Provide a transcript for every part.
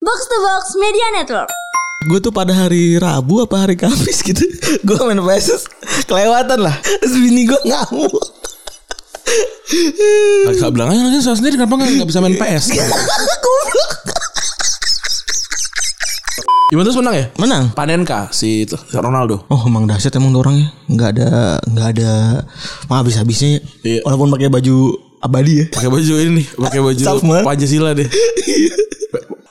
Box to Box Media Network. Gue tuh pada hari Rabu apa hari Kamis gitu Gue main PS terus Kelewatan lah Terus bini gue ngamuk Gak bilang aja nanti saya sendiri kenapa gak, nggak bisa main PS Goblok. Juventus menang ya? Menang Panenka si itu si Ronaldo Oh emang dahsyat emang tuh orangnya Gak ada Gak ada Mah habis-habisnya ya. Iya. Walaupun pakai baju abadi ya pakai baju ini nih pakai baju Sama. Pancasila deh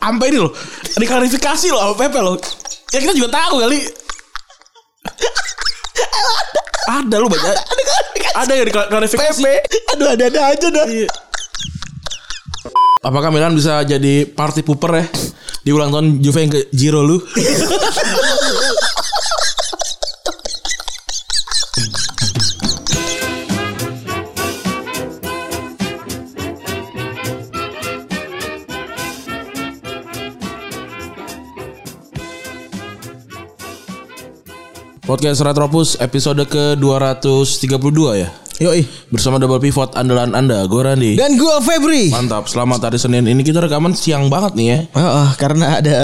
sampai ini loh diklarifikasi loh sama Pepe loh ya kita juga tahu kali ada lu baca ada yang diklarifikasi Pepe Aduh ada-ada aja dah apakah Milan bisa jadi party pooper ya di ulang tahun Juve yang ke Giro lu Podcast Retropus episode ke-232 ya Yoi Bersama Double Pivot andalan anda, gue Randi Dan gue Febri Mantap, selamat hari Senin Ini kita rekaman siang banget nih ya Oh, oh, Karena ada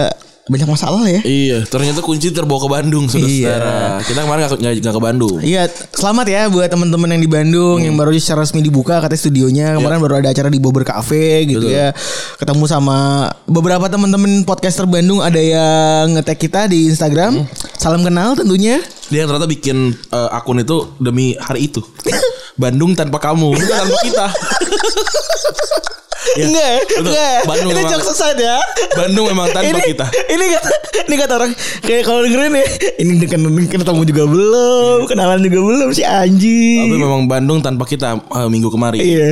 Banyak masalah ya Iya, ternyata kunci terbawa ke Bandung, saudara. Kita kemarin nggak- nggak nggak ke Bandung. Iya, selamat ya buat teman-teman yang di Bandung Hmm. yang baru secara resmi dibuka katanya studionya. Kemarin baru ada acara di Bobber Cafe gitu Iya. Betul. ya. Ketemu sama beberapa teman-teman podcaster Bandung ada yang ngetek kita di Hmm. Instagram. Salam kenal tentunya. Dia ternyata bikin eh, akun itu demi hari itu. Bandung tanpa kamu, bukan tanpa kita. Iya, Enggak, ya? betul. enggak. Bandung Ini memang- jokes sesat ya. Bandung memang tanpa ini, kita. Ini kata ini kata orang kayak kalau dengerin ya, ini deken- ketemu juga belum, kenalan juga belum si Iya. Tapi anjing. memang Bandung tanpa kita eh, minggu kemarin. Iya.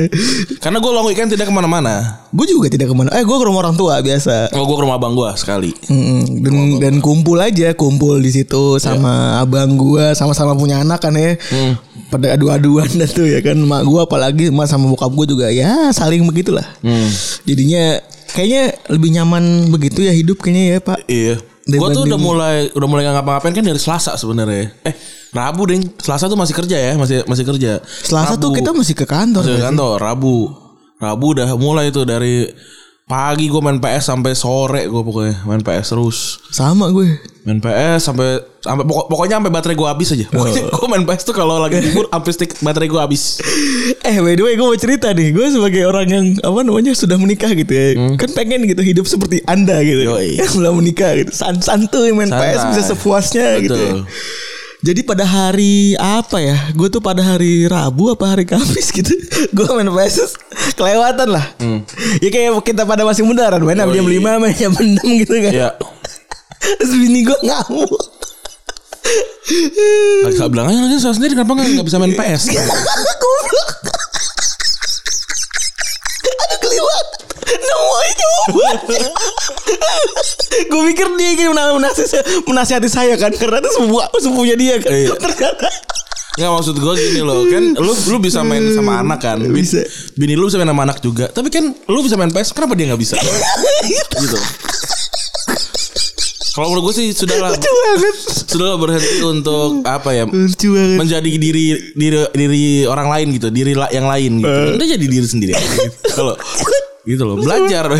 Karena gue long weekend tidak kemana-mana. Gue juga tidak kemana. Eh, gue ke rumah orang tua biasa. Oh, gue ke rumah abang gue sekali. Mm, dan dan kumpul aja kumpul di situ sama Iya. abang gua sama-sama punya anak kan ya Hmm. pada adu-aduan dan tuh ya kan mak gua apalagi emak sama bokap gua juga ya saling begitulah Hmm. jadinya kayaknya lebih nyaman begitu ya hidup kayaknya ya pak Iya. Dari Gue tuh Bandung. udah mulai udah mulai nggak ngapa-ngapain kan dari Selasa sebenarnya. Eh, Rabu ding. Selasa tuh masih kerja ya, masih masih kerja. Selasa tuh Rabu. kita masih ke kantor Masuk ke guys. kantor kan Rabu. Rabu udah mulai tuh dari pagi gue main PS sampai sore gue pokoknya main PS terus. sama gue Main PS sampai sampai pokok- pokoknya sampai baterai gue habis aja. Pokoknya gue main PS tuh kalau lagi libur sampai stick baterai gue habis. Eh by the way gue mau cerita nih Gue sebagai orang yang Apa namanya Sudah menikah gitu ya Kan pengen gitu Hidup seperti anda gitu Hmm. Yoi. Yang belum menikah gitu San Santuy main Santai. PS Bisa sepuasnya gitu ya. Betul. Jadi pada hari Apa ya Gue tuh pada hari Rabu Apa hari Kamis gitu Gue main PS terus Kelewatan lah Ya kayak kita pada masih muda kan Main jam 5 Yoi. Main jam 6 gitu kan Ya. Terus bini gue ngamuk Nah, Gak bilang aja nanti saya sendiri kenapa gak, bisa main PS Goblok Aduh keliwat Nemoy coba Gue pikir dia ingin mena- menasih- menasihati saya kan Karena itu sebuah sepupunya dia kan Iya. Ternyata Nggak maksud gue gini loh Kan lu, lu bisa main sama anak kan Bin- Bisa. Bini lu bisa main sama anak juga Tapi kan lu bisa main PS Kenapa dia gak bisa Gitu Kalau menurut gue sih sudah lah Lucu banget sudah berhenti untuk apa ya Lucu banget menjadi diri diri diri orang lain gitu diri la- yang lain gitu Anda jadi diri sendiri aja gitu. kalau gitu loh belajar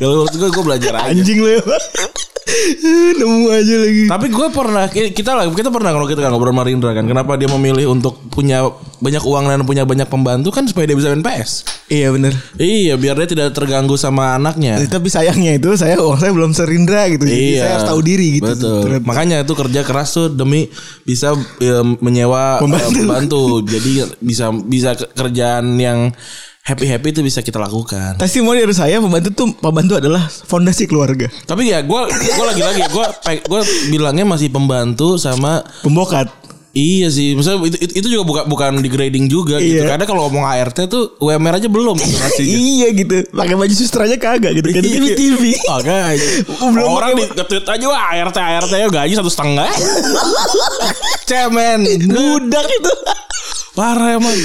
Ya, kalau menurut gue gue belajar aja Anjing lewat Nemu aja lagi tapi gue pernah kita lah kita pernah kalau kita kan ngobrol sama Rindra kan kenapa dia memilih untuk punya banyak uang dan punya banyak pembantu kan supaya dia bisa main PS Iya bener iya biar dia tidak terganggu sama anaknya Eh, Tapi sayangnya itu Saya uang saya belum serindra gitu Jadi iya saya harus tahu diri gitu betul Ternyata. makanya itu kerja keras tuh demi bisa eh, menyewa eh, Pembantu. pembantu. jadi bisa bisa ke- kerjaan yang happy happy itu bisa kita lakukan Testimoni dari saya Pembantu tuh Pembantu adalah fondasi keluarga tapi ya gue gue lagi lagi gue gue bilangnya masih pembantu sama Pembokat Iya sih, maksudnya itu, itu- itu juga bukan bukan degrading juga gitu. Iya. Karena kalau ngomong ART tuh UMR aja belum gitu ngasihnya. iya gitu pakai baju susteranya kagak gitu Iya. kan TV TV Makanya. Belum Oh, Orang di pakai- nge-tweet aja wah ART ART ya gaji satu setengah. Cemen. Gitu. budak itu Parah emang.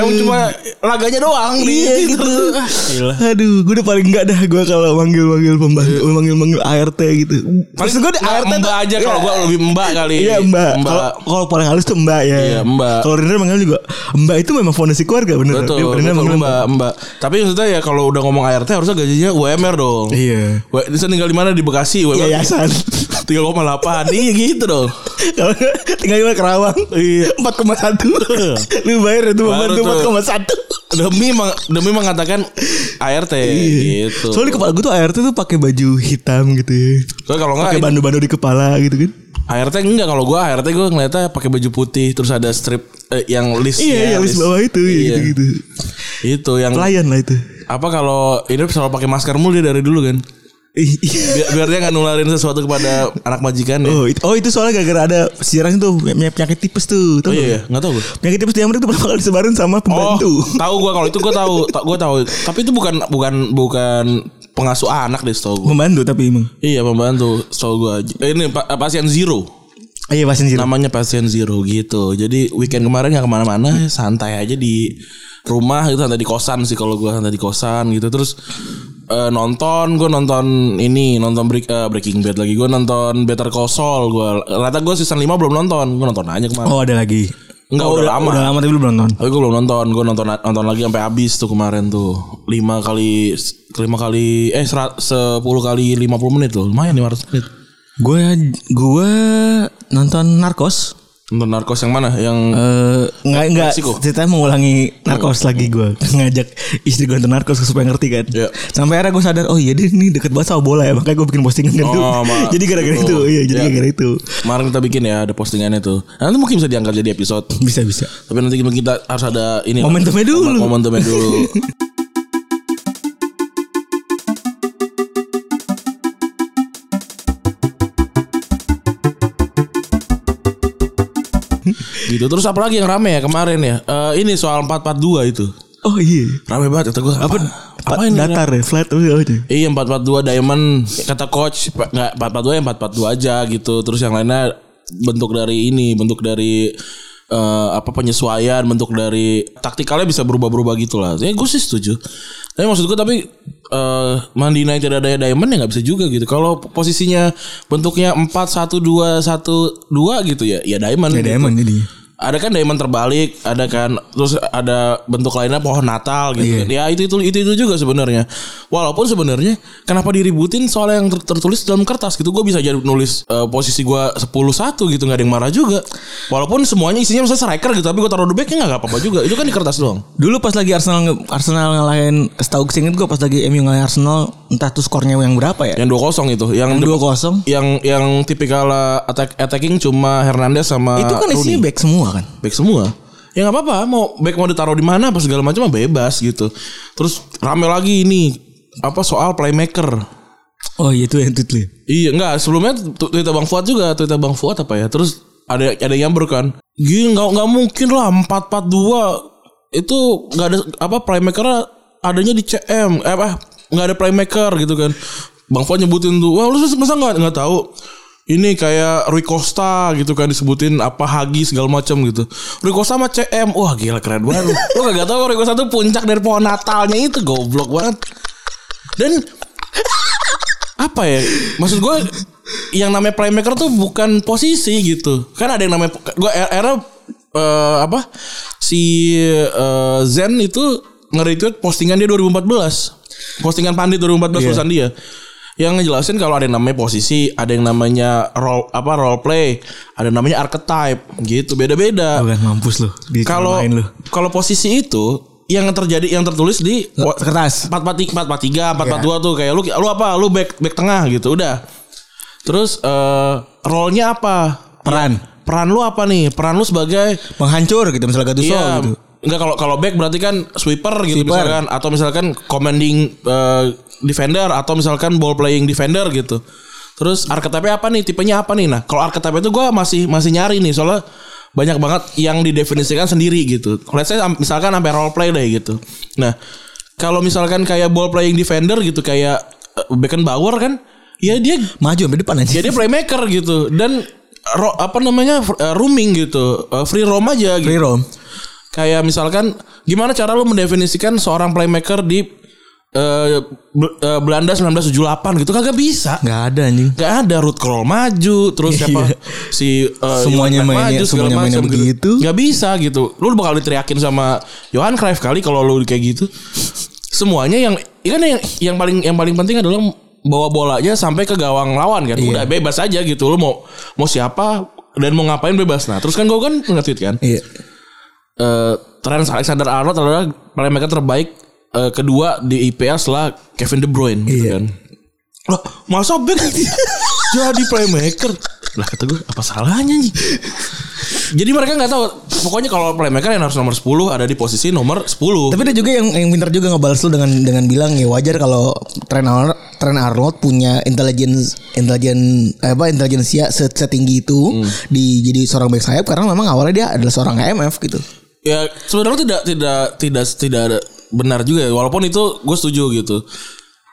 emang cuma laganya doang di Iya gitu. gitu. Ah, gila. Aduh, gue udah paling enggak dah gue kalau manggil-manggil pembantu, Iya. manggil-manggil ART gitu. Maksud gue di Nggak, ART Mbak tuh- aja kalau Iya. gua lebih mbak kali. Iya mbak. Mbak. Kalau kalau paling halus tuh mbak ya. Iya, mbak. Kalau Rina manggil juga mbak itu memang fondasi keluarga Iya, bener. Betul, Dia- Rina betul, manggil mbak, mbak. Tapi maksudnya ya kalau udah ngomong ART harusnya gajinya UMR dong. Iya. Wah, Nisa tinggal di mana di Bekasi? UMR Yayasan. 3,8 Iya gitu dong Kalau nggak, tinggal di mana, Kerawang. Iya. 4,1. Lu bayar ya itu Baru pembantu tuh. 4,1. Demi meng- demi mengatakan ART Iya. gitu Soalnya di kepala gue tuh ART tuh pakai baju hitam gitu ya. Soalnya kalau Pakai enggak bandu-bandu di kepala gitu kan. ART enggak kalau gua ART gua ngeliatnya pakai baju putih terus ada strip eh, yang list Iya, yang list bawah itu ya Iya. gitu-gitu. Itu yang Pelayan lah itu. apa kalau ini selalu pakai masker mulu dia dari dulu kan. Iya. Biar, biar dia nggak nularin sesuatu kepada anak majikan ya. Oh itu, oh itu soalnya gara-gara ada sejarahnya tuh punya penyakit tipes tuh. Tahu Oh nggak? iya, nggak tahu gue. Penyakit tipes di Amerika itu pertama kali disebarin sama Oh, pembantu. tahu gua kalau itu gua tahu, Ta- gua tahu. Tapi itu bukan bukan bukan pengasuh anak deh, setahu gua. Pembantu tapi emang. Iya pembantu setahu gua Eh, ini pa- pasien zero Iya pasien zero. namanya pasien zero gitu jadi weekend kemarin nggak kemana-mana santai aja di rumah gitu santai di kosan sih kalau gua santai di kosan gitu terus eh, nonton gua nonton ini nonton break, eh, Breaking Bad lagi gua nonton Better Call Saul gua rata gua season 5 belum nonton gua nonton aja kemarin Oh ada lagi. Oh, Enggak, udah lama. Udah lama tapi belum nonton. tapi gua belum nonton gua nonton nonton lagi sampai habis tuh kemarin tuh 5 kali 5 kali eh serat- 10 kali 50 menit loh lumayan 500 menit Gue gue nonton Narkos. nonton narkos yang mana yang Eh nggak nggak Meksiko. cerita mengulangi narkos Oh. lagi gue ngajak istri gue nonton narkos supaya ngerti kan Iya. sampai akhirnya gue sadar oh iya deh ini deket banget sama bola ya makanya gue bikin postingan kan tuh. Oh, mak- jadi gara-gara gitu. itu iya jadi Iya. gara-gara itu Kemarin kita bikin ya ada postingannya tuh. Nanti mungkin bisa diangkat jadi episode. bisa bisa Tapi nanti kita harus ada ini. lah. Momentumnya dulu. Momentumnya dulu. gitu terus apa lagi yang rame ya kemarin ya Eh, ini soal 442 itu oh iya rame banget kata gue apa apa ini datar ya flat apa aja Iya 442 Diamond kata coach pa- nggak 442 yang 442 aja gitu. Terus yang lainnya bentuk dari ini, bentuk dari eh, apa penyesuaian, bentuk dari taktikalnya bisa berubah-berubah gitu lah. Ya gue sih setuju. Tapi maksud gue tapi eh mandi naik tidak ada diamond ya nggak bisa juga gitu. Kalau posisinya bentuknya 4 1 2 1 2 gitu ya, ya diamond. ya gitu. diamond jadi Ada kan diamond terbalik, ada kan terus ada bentuk lainnya pohon Natal gitu. Iya. kan. Ya itu itu itu itu juga sebenarnya. Walaupun sebenarnya kenapa diributin soal yang ter- tertulis dalam kertas gitu. Gue bisa jadi nulis eh, posisi gue 10 1 gitu nggak ada yang marah juga. Walaupun semuanya isinya misalnya striker gitu, tapi gue taruh the backnya nggak apa-apa juga. Itu kan di kertas doang. Dulu pas lagi Arsenal nge- Arsenal ngalahin setahu singkat gue pas lagi MU ngalahin Arsenal entah tuh skornya yang berapa ya? Yang 2-0 itu, yang Yang 2-0. yang yang tipikal eh, attack attacking cuma Hernandez sama itu kan isinya Rooney. back semua kan? back semua ya nggak apa-apa mau back mau ditaruh di mana apa segala macam mah bebas gitu terus rame lagi ini apa soal playmaker Oh iya itu yang tweet lu. iya nggak sebelumnya tu- tweet bang Fuad juga tweet bang Fuad apa ya terus ada ada yang nyamber kan gini nggak nggak mungkin lah empat empat dua itu nggak ada apa playmaker adanya di CM eh, apa nggak ada playmaker gitu kan bang Fuad nyebutin tuh wah lu masa nggak nggak tahu ini kayak Rui Costa gitu kan disebutin apa Hagi segala macam gitu. Rui Costa sama CM, wah gila keren banget. Lu kagak tahu Rui Costa tuh puncak dari pohon Natalnya itu goblok banget. Dan apa ya? Maksud gue yang namanya playmaker tuh bukan posisi gitu. Kan ada yang namanya gue era eh, apa si eh, Zen itu nge-retweet postingan dia 2014. Postingan Pandit 2014 tulisan dia. Yang ngejelasin kalau ada yang namanya posisi, ada yang namanya role apa role play, ada yang namanya archetype gitu. Beda-beda Bukan Oh, kan, mampus lu. Di kalau main lu. kalau posisi itu yang terjadi yang tertulis di kertas. empat empat empat empat tiga empat empat dua tuh kayak lu lu apa lu back back tengah gitu udah terus eh role nya apa Peran. peran lu apa nih peran lu sebagai Penghancur Iya. gitu misalnya Gattuso Iya. gitu. Enggak kalau kalau back berarti kan sweeper gitu Sweeper. misalkan atau misalkan commanding eh, defender atau misalkan ball playing defender gitu. Terus archetype apa nih? Tipenya apa nih? Nah, kalau archetype itu gua masih masih nyari nih soalnya banyak banget yang didefinisikan sendiri gitu. Let's say am- misalkan sampai role play deh gitu. Nah, kalau misalkan kayak ball playing defender gitu kayak eh, Beckenbauer kan, ya dia Maju sampai depan aja. jadi playmaker gitu dan ro- apa namanya fr- eh, rooming gitu, Eh, free roam aja gitu. Free roam. Kayak misalkan gimana cara lu mendefinisikan seorang playmaker di eh, Bel- eh, Belanda 1978 gitu kagak bisa. Nggak ada anjing. Gak ada root crawl maju terus siapa Iya. si eh, Semuanya Johan Cruyff mainnya- segala semuanya mainnya macam begitu. Gak bisa gitu. Lu bakal diteriakin sama Johan Cruyff kali kalau lu kayak gitu. Semuanya yang ya kan yang yang paling yang paling penting adalah bawa bolanya sampai ke gawang lawan kan. Iya. Udah bebas aja gitu. Lu mau mau siapa dan mau ngapain bebas. Nah, terus kan gue kan nge-tweet kan. Iya. Eh Trent Alexander Arnold adalah playmaker terbaik eh, kedua di IPL setelah Kevin De Bruyne gitu Iya. kan. Lah, masa back jadi playmaker? Lah kata gue apa salahnya nih? Jadi mereka nggak tahu. Pokoknya kalau playmaker yang harus nomor 10 ada di posisi nomor 10. Tapi ada juga yang yang pintar juga ngebales lu dengan dengan bilang ya wajar kalau Trent Arnold, Trent Arnold punya intelligence intelijen eh, apa intelijensia se- setinggi itu Hmm. di jadi seorang back sayap karena memang awalnya dia adalah seorang IMF gitu. ya sebenarnya tidak tidak tidak tidak ada- benar juga ya. walaupun itu gue setuju gitu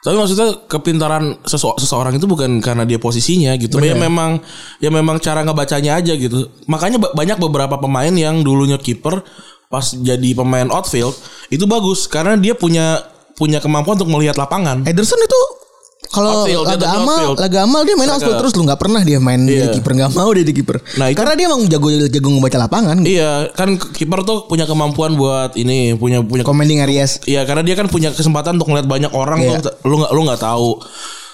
tapi maksudnya kepintaran sese- seseorang itu bukan karena dia posisinya gitu ya memang ya memang cara ngebacanya aja gitu makanya ba- banyak beberapa pemain yang dulunya kiper pas jadi pemain outfield itu bagus karena dia punya punya kemampuan untuk melihat lapangan Ederson itu kalau Outfield, laga dia tetap amal, outfield. laga amal dia main Laga- outfield terus lu nggak pernah dia main Iya. jadi kiper nggak mau dia di kiper. Nah, itu- Karena dia emang jago jago membaca lapangan. Gitu. iya kan kiper tuh punya kemampuan buat ini punya punya Commanding Arias. Iya karena dia kan punya kesempatan untuk ngeliat banyak orang Iya. tuh lu nggak lu nggak tahu.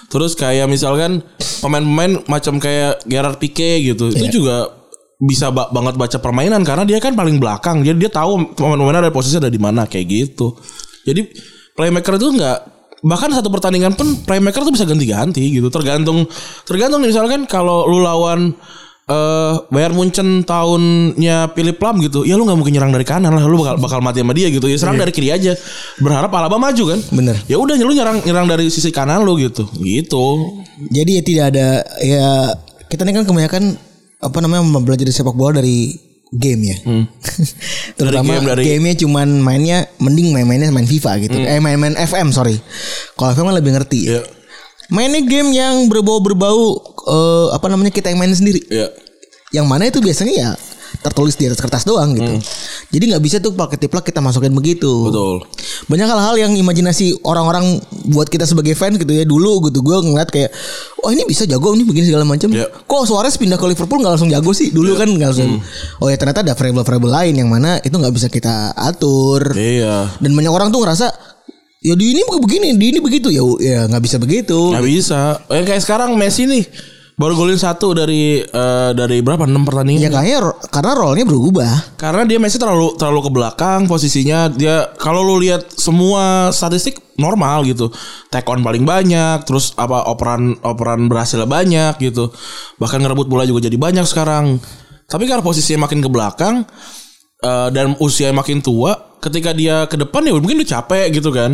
Terus kayak misalkan pemain-pemain macam kayak Gerard Pique gitu Iya. itu juga bisa ba- banget baca permainan karena dia kan paling belakang jadi dia tahu pemain-pemain ada posisi ada di mana kayak gitu. Jadi playmaker itu nggak bahkan satu pertandingan pun playmaker tuh bisa ganti-ganti gitu tergantung tergantung nih, misalkan kalau lu lawan eh Bayern Munchen tahunnya Philip Lam gitu ya lu nggak mungkin nyerang dari kanan lah lu bakal bakal mati sama dia gitu ya serang dari kiri aja berharap Alaba maju kan Bener. ya udah lu nyerang nyerang dari sisi kanan lu gitu gitu Jadi ya tidak ada ya kita ini kan kebanyakan apa namanya belajar sepak bola dari game ya. Terutama game, Hmm. dari- Hmm. gamenya cuman mainnya mending main-mainnya main FIFA gitu. Eh main-main FM sorry. Kalau FM kan lebih ngerti. Iya. Mainnya game yang berbau-berbau eh, apa namanya kita yang main sendiri. ya Yang mana itu biasanya ya tertulis di atas kertas doang gitu. Jadi nggak bisa tuh pakai tiplak kita masukin begitu Hmm. betul banyak hal-hal yang imajinasi orang-orang buat kita sebagai fans gitu ya dulu gitu gue ngeliat kayak oh ini bisa jago ini begini segala macam Ya. kok Suarez pindah ke Liverpool nggak langsung jago sih dulu kan nggak langsung Hmm. oh ya ternyata ada variable-variable lain yang mana itu nggak bisa kita atur iya dan banyak orang tuh ngerasa ya di ini begini di ini begitu ya ya nggak bisa begitu nggak bisa Eh, kayak sekarang Messi nih baru golin satu dari eh, dari berapa enam ya pertandingan kayaknya ro- karena role-nya berubah Karena dia Messi terlalu terlalu ke belakang posisinya dia kalau lu lihat semua statistik normal gitu. Take on paling banyak, terus apa operan operan berhasil banyak gitu. Bahkan ngerebut bola juga jadi banyak sekarang. Tapi karena posisinya makin ke belakang eh, dan usia makin tua, ketika dia ke depan ya mungkin dia capek gitu kan.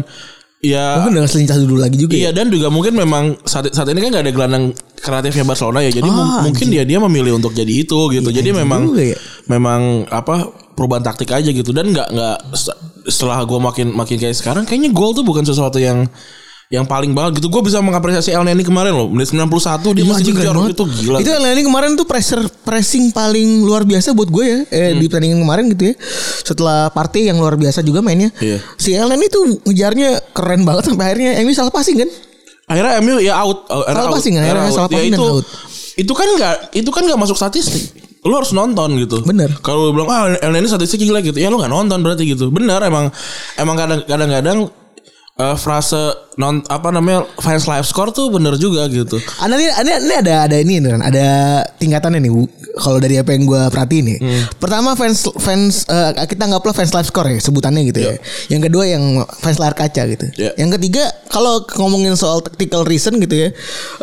Ya mungkin dengan selincah dulu lagi juga ya. Iya dan juga mungkin memang saat, saat ini kan gak ada gelandang kreatifnya Barcelona ya jadi mu- Ah, mungkin dia dia memilih untuk jadi itu gitu jadi anjing memang juga ya. memang apa perubahan taktik aja gitu dan nggak nggak se- setelah gue makin makin kayak sekarang kayaknya gol tuh bukan sesuatu yang yang paling banget gitu gue bisa mengapresiasi El Neni kemarin loh menit 91 dia Iya, masih anjing, keren kejar banget. itu gila Itu Elneny kemarin tuh pressure pressing paling luar biasa buat gue ya eh, Hmm. di pertandingan kemarin gitu ya. Setelah party yang luar biasa juga mainnya. Iya. Si Elneny tuh ngejarnya keren banget sampai akhirnya Emi salah passing kan? akhirnya MU ya out akhirnya Salah out, passing, akhirnya akhirnya salah out. Ya, passing dan itu, out. itu kan nggak itu kan nggak masuk statistik lu harus nonton gitu Bener. kalau lu bilang ah El ini statistik gila gitu ya lu nggak nonton berarti gitu bener emang emang kadang- kadang-kadang eh, frase non apa namanya fans live score tuh bener juga gitu Ada ini, ada ini ada ada ini Ren. ada tingkatannya nih. Bu. Kalau dari apa yang gue perhatiin nih. Pertama fans fans eh, kita anggaplah fans live score ya sebutannya gitu ya. Yang kedua yang fans layar kaca gitu. Iya. Yang ketiga kalau ngomongin soal tactical reason gitu ya.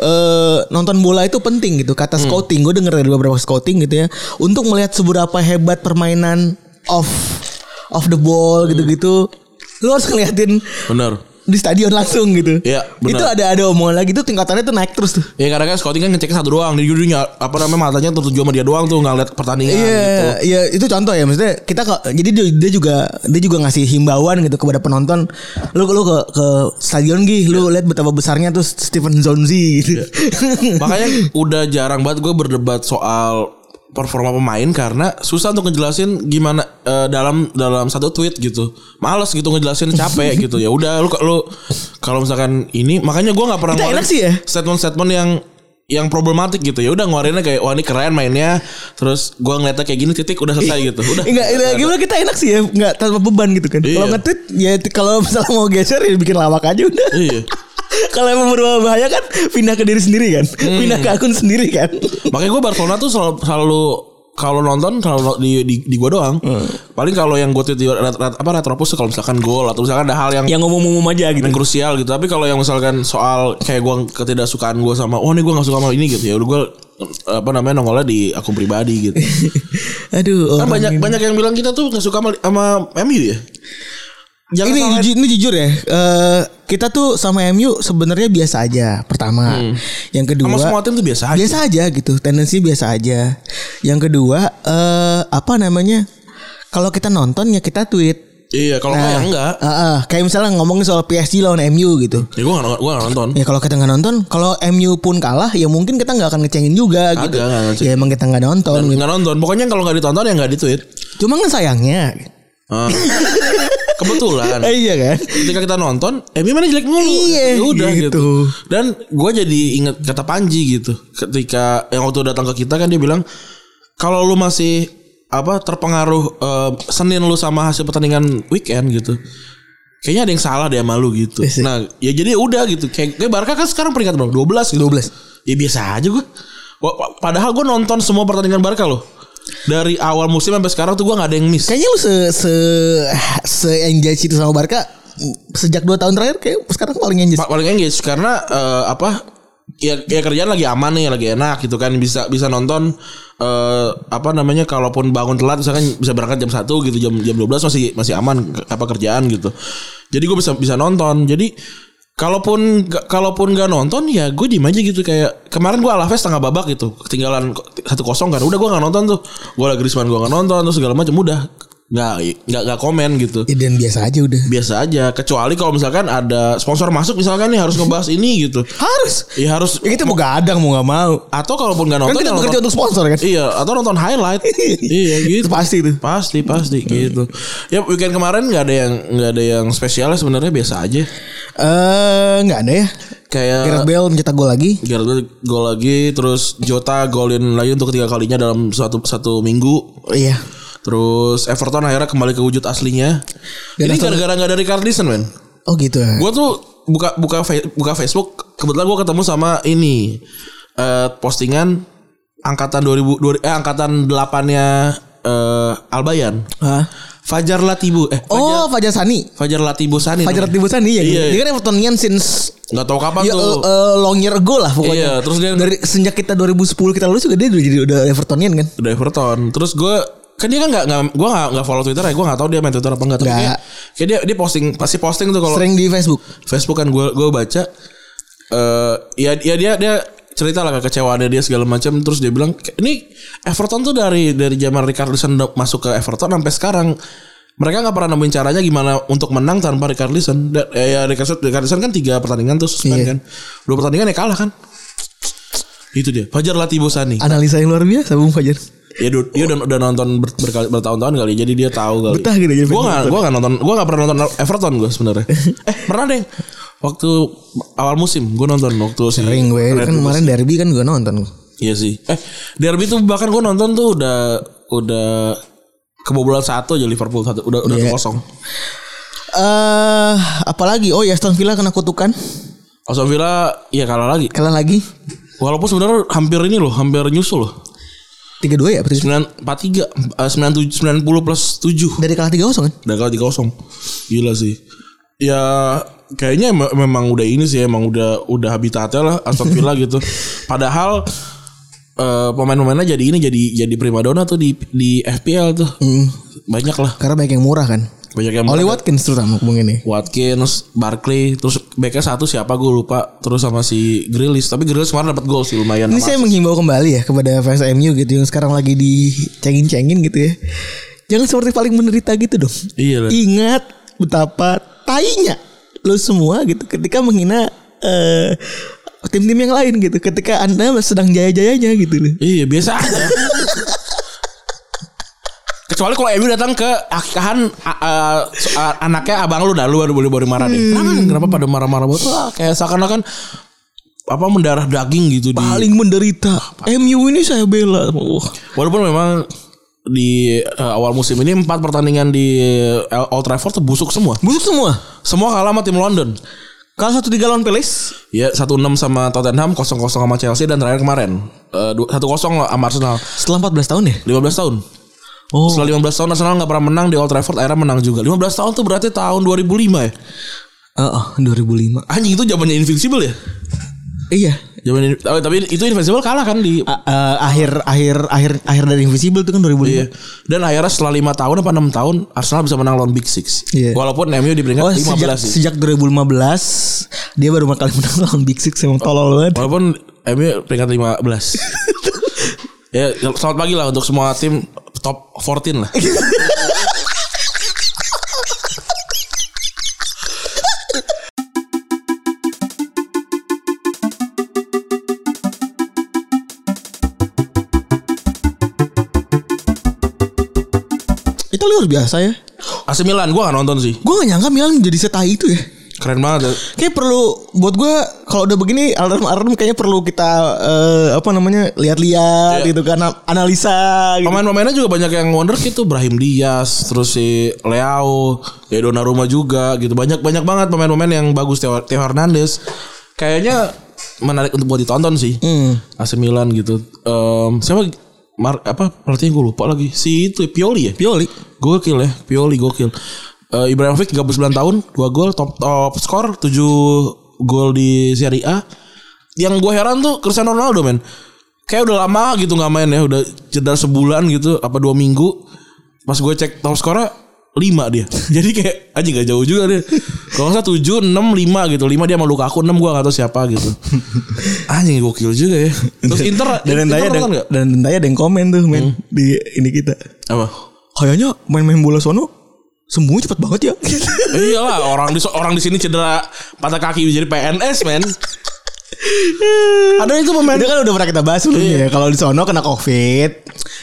eh, nonton bola itu penting gitu. Kata scouting gue denger dari beberapa scouting gitu ya. Untuk melihat seberapa hebat permainan off off the ball gitu-gitu. Lu harus ngeliatin bener di stadion langsung gitu. Iya, benar. Itu ada ada omongan lagi tuh tingkatannya tuh naik terus tuh. ya karena kan scouting kan ngecek satu doang dia judulnya apa namanya matanya tertuju sama dia doang tuh nggak lihat pertandingan Iya, gitu iya itu contoh ya maksudnya kita kok jadi dia, dia juga dia juga ngasih himbauan gitu kepada penonton lu lu ke ke stadion gih Iya. lu lihat betapa besarnya tuh Stephen Zonzi gitu. Iya. Makanya udah jarang banget gue berdebat soal performa pemain karena susah untuk ngejelasin gimana eh, dalam dalam satu tweet gitu. Males gitu ngejelasin capek gitu. Ya udah lu lu kalau misalkan ini makanya gua nggak pernah Kita ngeluarin enak sih ya. statement-statement yang yang problematik gitu ya udah ngeluarinnya kayak wah ini keren mainnya terus gua ngeliatnya kayak gini titik udah selesai gitu udah Enggak, enggak gimana kita enak sih ya, enggak tanpa beban gitu kan. Kalau Iya. nge-tweet ya t- kalau misalnya mau geser ya bikin lawak aja udah. Iya. kalau emang berbahaya kan pindah ke diri sendiri kan. Iya, Pindah ke akun sendiri kan. Makanya gue Barcelona tuh selalu, selalu kalau nonton kalau di di, di gue doang. Hmm. Paling kalau yang gue tweet di ret- ret- apa retropus tuh kalau misalkan gol atau misalkan ada hal yang yang, Yang ngomong-ngomong aja gitu. krusial gitu. Tapi kalau yang misalkan soal kayak gue ketidaksukaan gue sama wah ini gue gak suka sama ini gitu ya udah gue apa namanya nongolnya di akun pribadi gitu. Iya, Aduh, Kan orang banyak ini. banyak yang bilang kita tuh gak suka sama, sama MU ya. Jangan ini, salahin- ju- ini jujur ya. eh, kita tuh sama MU sebenarnya biasa aja. Pertama. Yang kedua Hmm. sama semua tim tuh biasa aja. biasa aja gitu tendensi biasa aja yang kedua eh apa namanya kalau kita nonton ya kita tweet Iya, kalau nggak ya enggak. eh, eh, kayak misalnya ngomongin soal PSG lawan MU gitu Ya gue gak, gua nggak nonton. ya kalau kita nggak nonton kalau MU pun kalah ya mungkin kita nggak akan ngecengin juga gitu nggak ya ngecengin. emang kita nggak nonton gitu. Nggak nonton. Pokoknya kalau nggak ditonton ya nggak ditweet. cuma kan sayangnya Ah. Kebetulan. Eh, iya kan ketika kita nonton MU mana jelek mulu Iya, Ya udah gitu. gitu. dan gue jadi inget kata Panji gitu ketika yang waktu datang ke kita kan dia bilang kalau lu masih apa terpengaruh eh, Senin lu sama hasil pertandingan weekend gitu kayaknya ada yang salah deh sama lu gitu Iya sih. nah ya jadi udah gitu kayak, kayak Barca kan sekarang peringkat berapa 12 gitu 12. ya biasa aja gue padahal gue nonton semua pertandingan Barca loh dari awal musim sampai sekarang tuh gue nggak ada yang miss kayaknya lu se se se engage itu sama Barca sejak dua tahun terakhir kayak sekarang paling engage Pa- paling engage karena eh, apa ya, ya kerjaan lagi aman nih lagi enak gitu kan bisa bisa nonton eh, apa namanya kalaupun bangun telat misalkan bisa berangkat jam 1 gitu jam jam 12 masih masih aman ke- apa kerjaan gitu jadi gue bisa bisa nonton jadi kalaupun ga- kalaupun gak nonton ya gue diem aja gitu kayak kemarin gue Alaves setengah babak gitu ketinggalan satu kosong kan udah gue nggak nonton tuh gue lagi Griezmann gue nggak nonton terus segala macam udah nggak nggak nggak komen gitu Ya, dan biasa aja udah biasa aja kecuali kalau misalkan ada sponsor masuk misalkan nih harus ngebahas ini gitu harus ya harus ya kita mau gadang mau nggak mau atau kalaupun nggak kan nonton kita ya bekerja nonton- untuk sponsor kan iya atau nonton highlight iya gitu itu pasti Hmm. itu pasti pasti gitu ya weekend kemarin nggak ada yang nggak ada yang spesialnya sebenarnya biasa aja eh nggak ada ya Gareth kayak Bale mencetak gol lagi Gareth Bale gol lagi terus Jota golin lagi untuk ketiga kalinya dalam satu satu minggu Oh, iya terus Everton akhirnya kembali ke wujud aslinya Dan ini Aston- gara-gara nggak ada Richarlison men oh gitu ya Gue tuh buka buka fe- buka Facebook kebetulan gue ketemu sama ini eh, postingan angkatan 2000 dua- eh angkatan 8-nya eh, Albayan. Hah? Fajar Latibu eh oh Fajar Sani Fajar Latibu Sani. Fajar namanya. Tibusan iya, Iya. iya. dia kan Evertonian since nggak tahu kapan ya, tuh. eh, eh, long year ago lah Iya, pokoknya terus dia dari sejak kita 2010 kita lulus juga dia udah jadi udah Evertonian kan udah Everton. Terus gue kan dia kan nggak nggak gue nggak nggak follow Twitter ya gue nggak tahu dia main Twitter apa nggak tapi Nggak. kayak, kayak dia dia posting pasti posting tuh kalau sering di Facebook Facebook kan gue gue baca eh ya, ya dia dia cerita lah kekecewaannya dia segala macam terus dia bilang ini Everton tuh dari dari zaman Richarlison do- masuk ke Everton sampai sekarang mereka nggak pernah nemuin caranya gimana untuk menang tanpa Richarlison. Da- eh, ya Richarlison, Richarlison kan tiga pertandingan terus suspend Iya. kan. Dua pertandingan ya kalah kan. Itu dia. Fajar Latibo Sani. analisa yang luar biasa Bung Fajar Ya du- dia udah, udah nonton ber- berkali- bertahun-tahun kali. Jadi dia tahu kali. Betah gitu jadi Gue fans nggak gue nggak nonton. Gue nggak pernah nonton Everton gue sebenarnya. eh pernah deh. Waktu awal musim gue nonton waktu si sering gue Red kan Bull. kemarin derby kan gue nonton Iya sih. Eh derby tuh bahkan gue nonton tuh udah udah kebobolan satu aja Liverpool satu udah udah Iya. kosong. eh apalagi oh ya Aston Villa kena kutukan Aston Villa ya kalah lagi. kalah lagi Walaupun sebenarnya hampir ini loh, hampir nyusul loh. 3-2 ya berarti 9 43 eh, 97 90 plus 7. dari kalah 3-0 kan Udah kalah 3-0 Gila sih Ya kayaknya em- memang udah ini sih Emang udah udah habitatnya lah Aston Villa gitu Padahal eh, Pemain-pemainnya jadi ini Jadi jadi primadona tuh di, di FPL tuh Banyak lah karena banyak yang Hmm. murah kan Banyak yang Oli Watkins terutama ngomongin ini Watkins, Barkley, terus backnya satu siapa gue lupa, terus sama si Grilis. Tapi Grilis kemarin dapat gol sih lumayan. Ini sama saya menghimbau kembali ya kepada fans MU gitu yang sekarang lagi dicengin-cengin gitu ya. Jangan seperti paling menderita gitu dong. Iya lah. Ingat betapa tainya lo semua gitu ketika menghina eh, tim-tim yang lain gitu. Ketika Anda sedang jaya-jayanya gitu loh. Iya biasa aja Kecuali kalau Emi datang ke akahan a- a- so- a- anaknya abang lu dah lu baru boleh baru marah deh. Kenapa, nih? kenapa pada marah-marah banget? Wah, kayak seakan-akan apa mendarah daging gitu di Paling menderita. MU ini saya bela. Wah. Walaupun memang di eh, awal musim ini empat pertandingan di eh, Old Trafford tuh busuk semua. Busuk semua. Semua kalah sama tim London. Kalau satu tiga lawan Palace, Ya 1-6 sama Tottenham, 0-0 sama Chelsea dan terakhir kemarin eh, dua- 1-0 sama Arsenal. setelah 14 tahun ya. 15 tahun. Oh. Setelah 15 tahun Arsenal nggak pernah menang di Old Trafford akhirnya menang juga. 15 tahun tuh berarti tahun 2005 ya. Heeh, 2005. Anjing itu zamannya Invincible ya? Iya. Zaman tapi tapi itu Invincible kalah kan di A- eh, akhir akhir akhir akhir dari Invisible itu kan 2005. Iya. Dan akhirnya setelah 5 tahun apa 6 tahun Arsenal bisa menang lawan Big Six. Iya. Walaupun MU di peringkat Oh, 15 sejak sih. sejak 2015 dia baru kali menang lawan Big Six emang tolol banget. Walaupun MU peringkat 15 Ya selamat pagi lah untuk semua tim top 14 lah Itu luar biasa ya. AC Milan gue gak nonton sih Gue gak nyangka Milan menjadi setai itu ya. Keren banget ya. Kayak perlu buat gue kalau udah begini alarm-alarm kayaknya perlu kita eh, apa namanya lihat-lihat Iya. gitu kan analisa gitu. Pemain-pemainnya juga banyak yang wonderkid tuh Brahim Diaz Terus si Leao Ya Donnarumma juga gitu Banyak-banyak banget pemain-pemain yang bagus Theo, Theo Hernandez Kayaknya menarik untuk buat ditonton sih Hmm. AC Milan gitu Em, Siapa Mar apa pelatihnya gue lupa lagi Si itu ya, Pioli ya Pioli. Gokil ya, Pioli gokil. Eh, Ibrahimovic 39 tahun, 2 gol top top skor 7 gol di Serie A. Yang gue heran tuh Cristiano Ronaldo men. Kayak udah lama gitu nggak main ya, udah jeda sebulan gitu apa dua minggu. Pas gue cek top skornya 5 dia. Jadi kayak anjing gak jauh juga dia. Kalau nggak salah 7 6 5 gitu. 5 dia sama Lukaku, 6 gue gak tahu siapa gitu. Anjing gokil juga ya. Terus Inter Dan Inter Dendaya ada, nonton nggak? Hmm. dan Dendaya ada yang komen tuh men di ini kita. Apa? Kayaknya main-main bola sono sembuh cepet banget ya. Iyalah orang di orang di sini cedera patah kaki jadi PNS men. Ada itu pemain Iya. Itu kan udah pernah kita bahas sebelumnya ya. Kalau di sono kena covid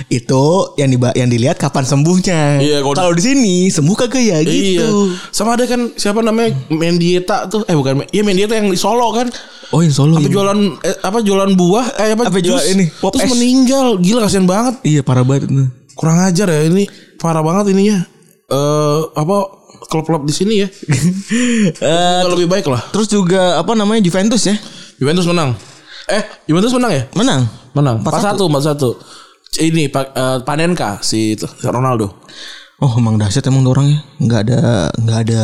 itu yang di yang dilihat kapan sembuhnya. Iya, kalau di- kalau di sini sembuh kagak ya Iya. gitu. Sama ada kan siapa namanya Mendieta tuh eh bukan iya Mendieta yang di Solo kan. Oh, yang solo. Apa jualan eh, apa jualan buah eh apa, Apa jual jus. ini, pop terus es. meninggal gila kasihan banget Iya, parah banget. itu. kurang ajar ya ini parah banget ininya eh apa klub-klub di sini ya Eh, lebih baik lah terus juga apa namanya Juventus ya? Juventus menang eh Juventus menang ya Menang. menang 4-1 4-1 ini Pak- eh, Panenka si itu, Ronaldo Oh, emang dahsyat emang tuh orangnya. Nggak ada nggak ada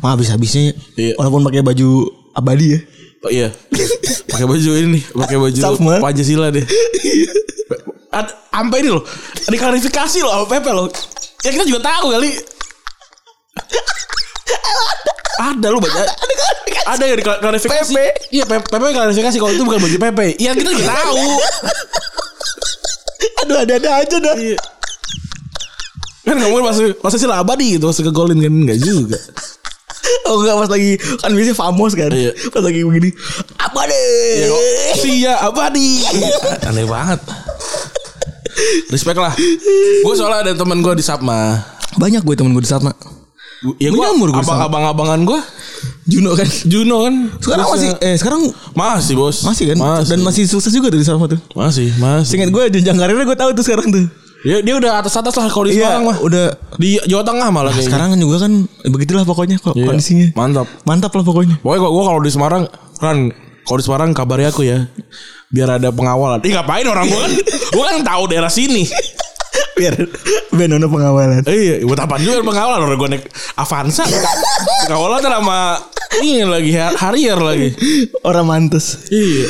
mah habis-habisnya. Iya. ya. Walaupun pakai baju abadi ya. Oh, iya. Pakai baju ini, pakai baju Sama. Pancasila deh. Ad- Iya. Sampai ini loh. Diklarifikasi loh sama Pepe loh. Ya kita juga tahu kali. Ada lu baca. Ada yang diklarifikasi. Pepe. Iya, Pepe, Pepe klarifikasi kalau itu bukan baju Pepe. Iya, kita juga tahu. Aduh, ada-ada aja dah. Iya. Kan kamu masih masih sila abadi gitu, masih ke golin kan enggak juga. Oh enggak pas lagi kan biasanya famos kan. Iya. Pas lagi begini apa deh. Ya kok Sia Abadi Aneh banget Respect lah Gue soalnya ada temen gue di Sapma Banyak gue temen gue di Satma. Ya gue Menyamur gua sama. abang-abang-abangan gue Juno kan. Juno kan Sekarang Terus masih ya- eh sekarang Masih bos masih kan Masih dan masih sukses juga dari Satma tuh. Masih Masih Singkat gue jenjang karirnya gue tahu tuh sekarang tuh. ya, Dia udah atas-atas lah kalau di Iya, Semarang mah udah Di Jawa Tengah malah kayaknya sekarang kan juga kan eh, begitulah pokoknya kok Iya, kondisinya. Mantap Mantap lah pokoknya. Pokoknya gue kalau di Semarang Ran kalau di Semarang kabari aku ya biar ada pengawalan. Ih ngapain orang gue kan? gue kan tahu daerah sini. Biar biar nono pengawalan. Iya, buat apaan juga pengawalan orang gue naik Avanza. pengawalan ntar sama ini lagi har- Harrier lagi. Orang mantus. Iya.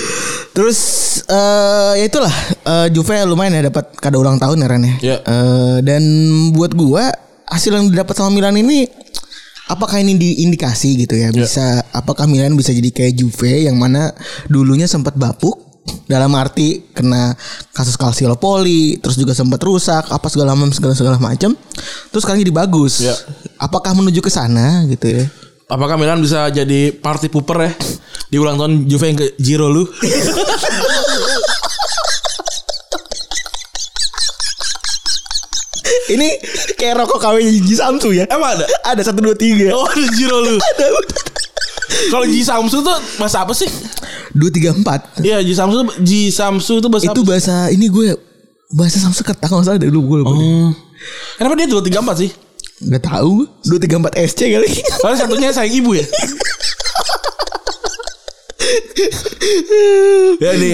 Terus eh ya itulah eh, Juve lumayan ya dapat kado ulang tahun ya Ren ya. Iya. Eh, dan buat gua hasil yang didapat sama Milan ini apakah ini diindikasi gitu ya bisa apakah Milan bisa jadi kayak Juve yang mana dulunya sempat bapuk dalam arti kena kasus kalsiopoli terus juga sempat rusak apa segala macam segala segala macam terus sekarang jadi bagus Iya. apakah menuju ke sana gitu ya Apakah Milan bisa jadi party pooper ya di ulang tahun Juve yang ke Giro lu? Ini kayak rokok KW Ji Samsu ya. Emang ada? Ada satu dua tiga. Oh, ada Jiro lu. Ada. Kalau Ji Samsu tuh bahasa apa sih? Dua tiga empat. Iya, Ji Samsu tuh- Ji Samsu tuh bahasa Itu apa? bahasa ini gue bahasa Samsung kalau nggak salah dari dulu gue lupa. Hmm. Kenapa dia 234 sih? Gak tahu. Dua tiga empat SC kali. Soalnya satunya sayang ibu ya. ya nih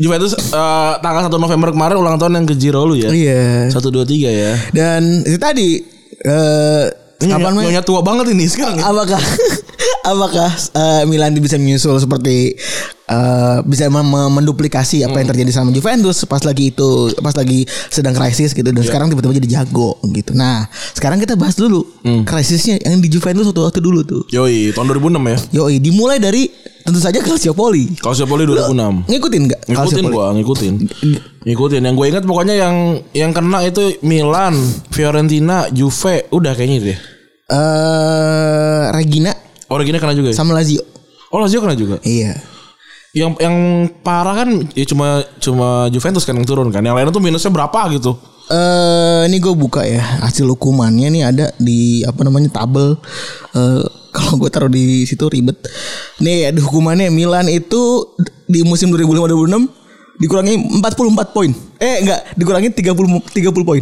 Juventus eh, tanggal 1 November kemarin ulang tahun yang ke Jiro lu ya. Iya. 1 2 3 ya. Dan itu tadi eh kapan main? Nyonya Iya, tua banget ini sekarang. ya. Apakah apakah eh, Milan bisa menyusul seperti eh, bisa mem- mem- menduplikasi apa yang Hmm. terjadi sama Juventus pas lagi itu pas lagi sedang krisis gitu dan Iya. sekarang tiba-tiba jadi jago gitu. Nah, sekarang kita bahas dulu Hmm. krisisnya yang di Juventus waktu waktu dulu tuh. Yoi, tahun 2006 ya. Yoi, dimulai dari tentu saja Calciopoli. Calciopoli 2006. Ngikutin nggak Ngikutin Calciopoli? gua, ngikutin. Ngikutin. Yang gue ingat pokoknya yang yang kena itu Milan, Fiorentina, Juve, udah kayaknya gitu ya. deh. Eh, Regina Origina kena juga. Ya? sama Lazio. Oh, Lazio kena juga. Iya. Yang yang parah kan ya cuma cuma Juventus kan yang turun kan. Yang lainnya tuh minusnya berapa gitu. Eh, ini gue buka ya hasil hukumannya nih ada di apa namanya tabel. Eh, kalau gue taruh di situ ribet. Nih ada hukumannya Milan itu di musim 2005-2006 dikurangi 44 poin. Eh enggak, dikurangi 30 30 poin.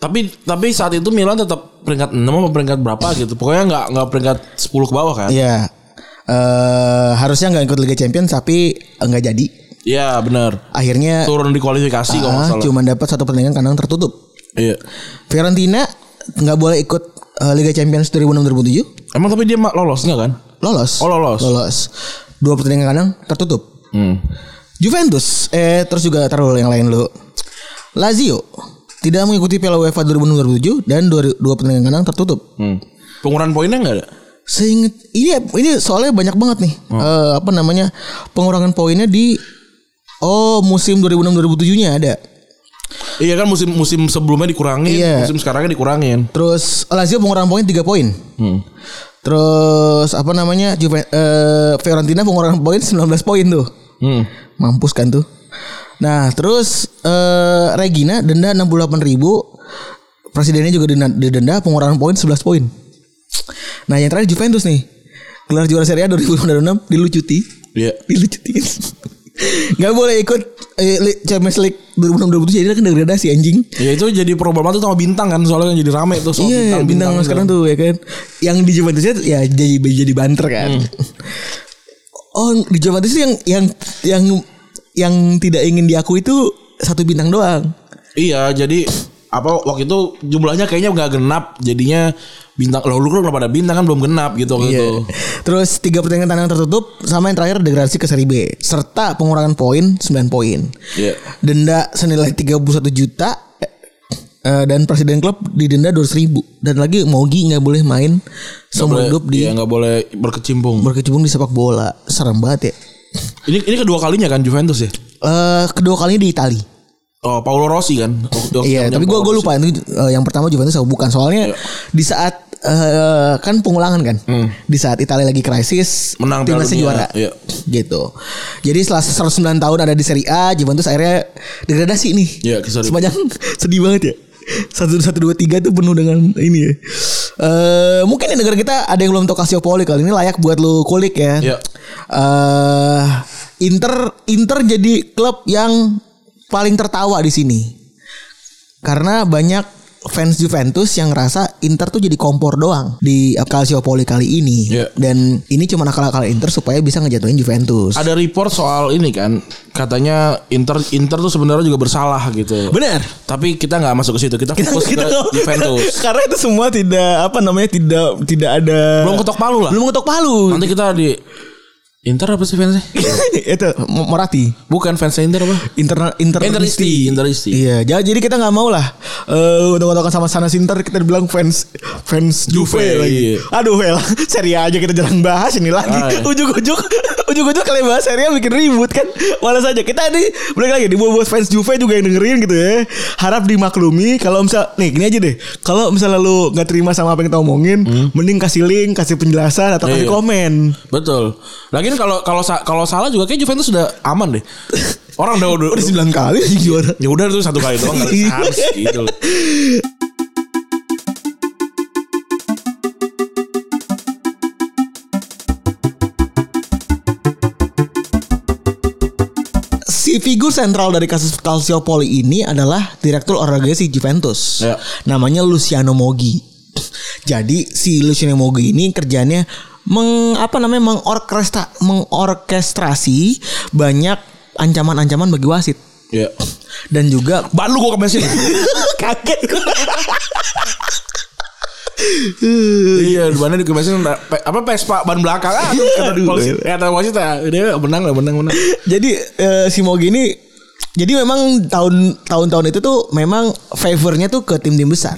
Tapi tapi saat itu Milan tetap peringkat 6 apa peringkat berapa gitu. Pokoknya nggak nggak peringkat 10 ke bawah kan. Iya. Eh harusnya nggak ikut Liga Champions tapi nggak jadi. Iya, benar. Akhirnya Turun di kualifikasi kalau nggak ah, salah. cuma dapat satu pertandingan kandang tertutup. Iya. Fiorentina nggak boleh ikut eh, Liga Champions 2006-2007 Emang tapi dia ma- lolos nggak kan? Lolos. Oh, lolos. Lolos. Dua pertandingan kandang tertutup. Hmm. Juventus eh terus juga taruh yang lain lu. Lazio tidak mengikuti Piala UEFA 2006 2007 dan dua, dua pertandingan kandang tertutup. Hmm. Pengurangan poinnya nggak ada? Seinget ini ini soalnya banyak banget nih. Oh. Eh, apa namanya? Pengurangan poinnya di Oh, musim 2006 2007-nya ada. Iya kan musim musim sebelumnya dikurangin, Iya. musim sekarangnya dikurangin. Terus Lazio pengurangan poin 3 poin. Terus apa namanya? Juve, eh, Fiorentina pengurangan poin 19 poin tuh. Hmm. Mampus kan tuh. Nah, terus eh, Regina denda 68.000. Presidennya juga didenda, didenda pengurangan poin 11 poin. Nah, yang terakhir Juventus nih. Gelar juara Serie A 2006 dilucuti. Iya. Dilucuti. Gak boleh ikut eh, li- Champions League 2006 2007 jadi kan degradasi anjing. Ya itu jadi problem tuh sama bintang kan soalnya yang jadi rame tuh soal Iya, bintang, sekarang tuh ya kan. Yang di Juventusnya tuh ya jadi jadi banter kan. Hmm. Oh, di Juventus tuh yang yang yang yang tidak ingin diakui itu satu bintang doang. Iya, jadi apa waktu itu jumlahnya kayaknya nggak genap jadinya bintang lo lu kan udah pada bintang kan belum genap gitu waktu Iya. itu. Terus tiga pertandingan tandang tertutup sama yang terakhir degradasi ke seri B serta pengurangan poin 9 poin. Iya. Denda senilai 31 juta eh, dan presiden klub didenda 200 ribu dan lagi Mogi nggak boleh main seumur hidup di Iya, nggak boleh berkecimpung. berkecimpung di sepak bola serem banget ya Ini ini kedua kalinya kan Juventus ya. Eh, kedua kalinya di Itali Oh, Paolo Rossi kan. Waktu- waktu Iya, zamannya tapi gue Paolo gue Rossi. lupa itu eh, yang pertama Juventus atau bukan. Soalnya Iya. Hmm. di saat eh, kan pengulangan kan, di saat Italia lagi krisis, Menang Piala timnasnya Dunia, juara, iya. gitu. Jadi setelah 109 tahun ada di Serie A, Juventus akhirnya degradasi nih. Iya, kesel. Sepanjang sedih banget ya. Satu satu dua tiga tuh penuh dengan ini ya. Eh, mungkin di negara kita ada yang belum tahu Calciopoli kali ini layak buat lu kulik ya. Iya. Eh, Inter Inter jadi klub yang paling tertawa di sini. Karena banyak fans Juventus yang ngerasa Inter tuh jadi kompor doang di Calciopoli kali ini. Iya. Dan ini cuma akal-akal Inter supaya bisa ngejatuhin Juventus. Ada report soal ini kan, katanya Inter Inter tuh sebenarnya juga bersalah gitu. Bener. Tapi kita nggak gitu. masuk ke situ. Kita fokus Kita ke nggak- Juventus. Karena itu semua tidak apa namanya tidak tidak ada Belum ketok palu lah. belum ketok palu. Nanti kita di Inter apa sih fansnya? itu Mo- Morati. Bukan fansnya Inter apa? Interna, inter Interisti, Interisti. Iya, ja- jadi kita nggak mau lah eh untuk ngotokan sama sana Sinter kita bilang fans fans Juve, Juve, lagi. iya. Aduh, well, seri A aja kita jarang bahas ini lagi. Ah, iya. Ujuk-ujuk ujuk-ujuk kalian bahas seri A bikin ribut kan. Malah saja kita ini balik lagi di buat fans Juve juga yang dengerin gitu ya. Harap dimaklumi kalau misal nih gini aja deh. Kalau misalnya lu nggak terima sama apa yang kita omongin, mending kasih link, kasih penjelasan atau kasih Hmm. Iya. komen. Betul. Lagian kalau kalau sa- kalau salah juga kayak Juventus sudah aman deh. Orang udah udah, Udah 9 kali juara. ya udah tuh satu kali doang nggak harus gitu loh. si figur sentral dari kasus Calciopoli ini adalah direktur olahraga si Juventus. Ya. Namanya Luciano Moggi. Jadi si Luciano Moggi ini kerjanya meng apa namanya mengorkestra mengorkestrasi banyak ancaman-ancaman bagi wasit Ya. dan juga Ban lu gua kemesin. kaget iya, bannya dikemesin pe- apa Vespa ban belakang ah tuh kata polisi kata polisi tak dia menang lah menang menang. Jadi eh, si Mogi ini jadi memang tahun tahun-tahun itu tuh memang favornya tuh ke tim-tim besar.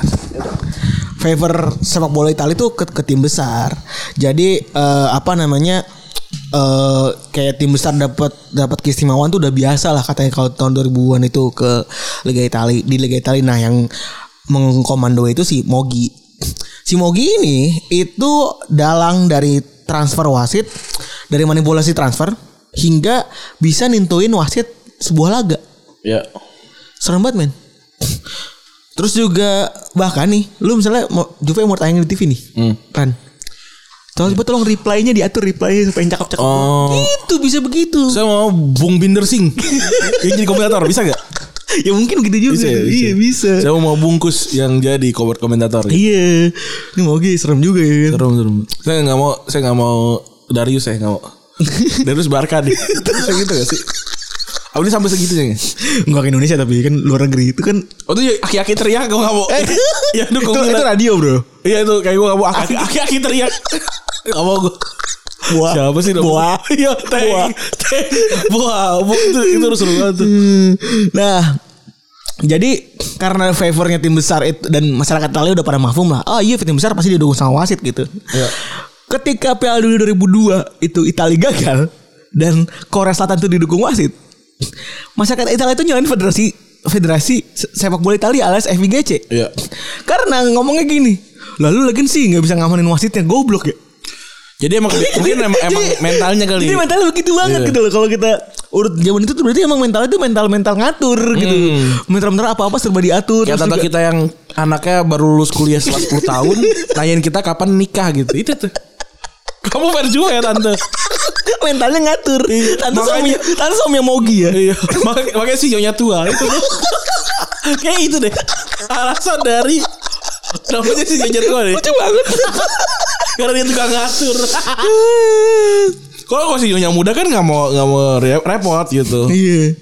Favor sepak bola Italia tuh ke, ke tim besar. Jadi eh, apa namanya eh kayak tim besar dapat dapat keistimewaan tuh udah biasa lah katanya kalau tahun 2000-an itu ke Liga Italia di Liga Italia nah yang mengkomando itu si Mogi. Si Mogi ini itu dalang dari transfer wasit dari manipulasi transfer hingga bisa nintuin wasit sebuah laga. Ya. Serem banget, men. Terus juga bahkan nih, lu misalnya mau Juve mau tayang di TV nih. Hmm. Kan. Tolong coba tolong reply-nya diatur reply supaya yang cakep-cakep. Iya. Oh. Itu bisa begitu. Saya mau Bung Binder Singh yang jadi komentator bisa gak? ya mungkin gitu juga. Iya, ya. bisa. Saya mau bungkus yang jadi komen- komentator. Iya. Ini mau gini serem juga ya. kan? Serem serem. Saya nggak mau, saya nggak mau Darius saya nggak mau. Darius Barca deh. Bisa gitu gak sih? Apa ini sampai segitunya? nggak? Enggak ke Indonesia tapi kan luar negeri itu kan Oh itu ya aki-aki teriak gue nggak mau. ya itu Eh, itu, gue itu bilang. radio, Bro. Iya itu kayak gue nggak mau aki- aki-aki teriak. Nggak mau gue. Wah. Siapa sih? namanya? Buah. Iya. Teh. Buah. Teh. Buah. Buah. Itu itu harus seru banget. tuh. Hmm. Nah, jadi karena favornya tim besar itu dan masyarakat Italia udah pada mafum lah. Oh iya tim besar pasti didukung sama wasit gitu. Iya. Ketika Piala Dunia 2002 itu Italia gagal dan Korea Selatan itu didukung wasit. Masyarakat Italia itu nyalain federasi federasi se- sepak bola Italia alias FIGC. Iya. Karena ngomongnya gini, lalu lagi sih nggak bisa ngamanin wasitnya goblok ya. Jadi emang mungkin emang, emang Jadi- mentalnya kali. Jadi mentalnya begitu banget Iya. gitu loh kalau kita urut zaman itu tuh berarti emang mentalnya itu mental-mental ngatur gitu. Mental-mental apa-apa serba diatur. Ya Terus Hmm. tata juga- kita yang anaknya baru lulus kuliah setelah 10 tahun Nanyain kita kapan nikah gitu Itu tuh Kamu fair juga ya tante mentalnya ngatur. Iya, Tante makanya- suami tante suami yang mogi ya. Iya Mak- Makanya si nyonya tua itu tuh. Kayak itu gitu deh Alasan dari Namanya si nyonya tua deh Lucu banget. Karena dia tukang ngatur Kalau kalau si nyonya muda kan nggak mau nggak mau re- repot gitu Iya.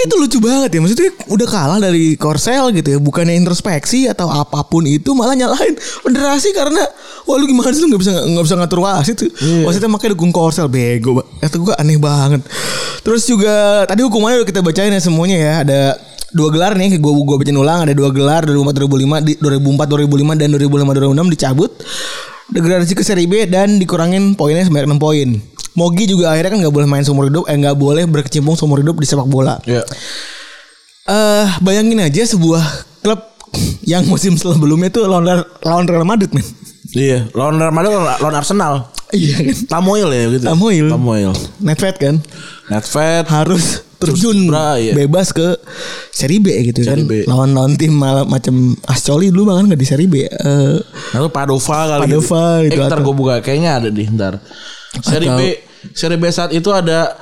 Itu lucu banget ya. Maksudnya udah kalah dari Korsel gitu ya. Bukannya introspeksi atau apapun itu malah nyalahin federasi karena wah lu gimana sih lu nggak bisa nggak bisa ngatur wasit. Wasitnya makanya dukung Korsel bego. Pak. Kata gua aneh banget. Terus juga tadi hukumannya udah kita bacain ya semuanya ya. Ada dua gelar nih gua gua bacain ulang ada dua gelar 2004 2005 di 2004 2005 dan 2005 2006 dicabut degradasi ke seri B dan dikurangin poinnya sebanyak 6 poin. Mogi juga akhirnya kan nggak boleh main seumur hidup, eh nggak boleh berkecimpung seumur hidup di sepak bola. Eh Iya bayangin aja sebuah klub yang musim sebelumnya tuh lawan lawan Real Madrid men. Iya Lawan Ramadhan lawan Arsenal Iya kan. Tamoil ya gitu Tamoil. Tamoil Netfed kan Netfed harus terjun Bra, iya. bebas ke seri B gitu kan. Seri B. Lawan lawan tim malah macam Ascoli dulu bahkan nggak di seri B. Eh, Lalu Padova kali Padova gitu. gitu, Eh, ntar atau- gue buka kayaknya ada di ntar. Seri Atau- B Seri B saat itu ada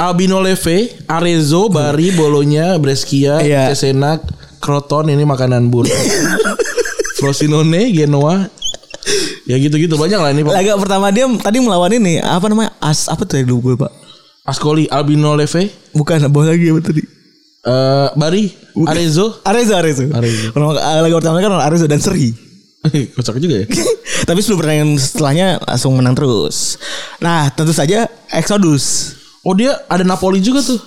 Albino Leve, Arezzo, Bari, Bolonya, Brescia, Iya. Cesena, Croton ini makanan buruk. Frosinone, Genoa. Ya gitu-gitu banyak lah ini. Pak. laga pertama dia tadi melawan ini apa namanya? As apa tuh ya dulu gue, Pak? Ascoli, Albino Leve, Bukan bawah lagi apa tadi? eh, Bari, Arezzo. Arezzo Arezzo. Arezzo. Kalau laga pertama kan lawan Arezzo dan Seri. Kocak juga ya. Tapi sebelum pertandingan setelahnya langsung menang terus. Nah, tentu saja Exodus Oh dia ada Napoli juga tuh.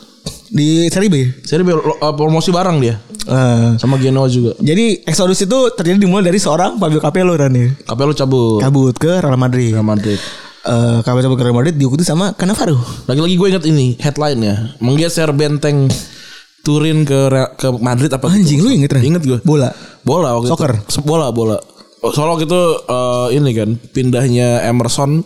di seri B. Seri B lo- eh, promosi bareng dia Eh, sama Genoa juga. jadi Exodus itu terjadi dimulai dari seorang Fabio Capello kan ya. Capello cabut. Kabut ke Real Madrid. Real Madrid. Eh, Kabut cabut ke Real Madrid diikuti sama Cannavaro. Lagi-lagi gue inget ini headline-nya menggeser benteng Turin ke Re- ke Madrid apa gitu. Anjing lu inget kan? Inget gue. Bola. Bola waktu Soccer. itu. Se- Bola bola. Oh, Soalnya waktu itu eh, ini kan pindahnya Emerson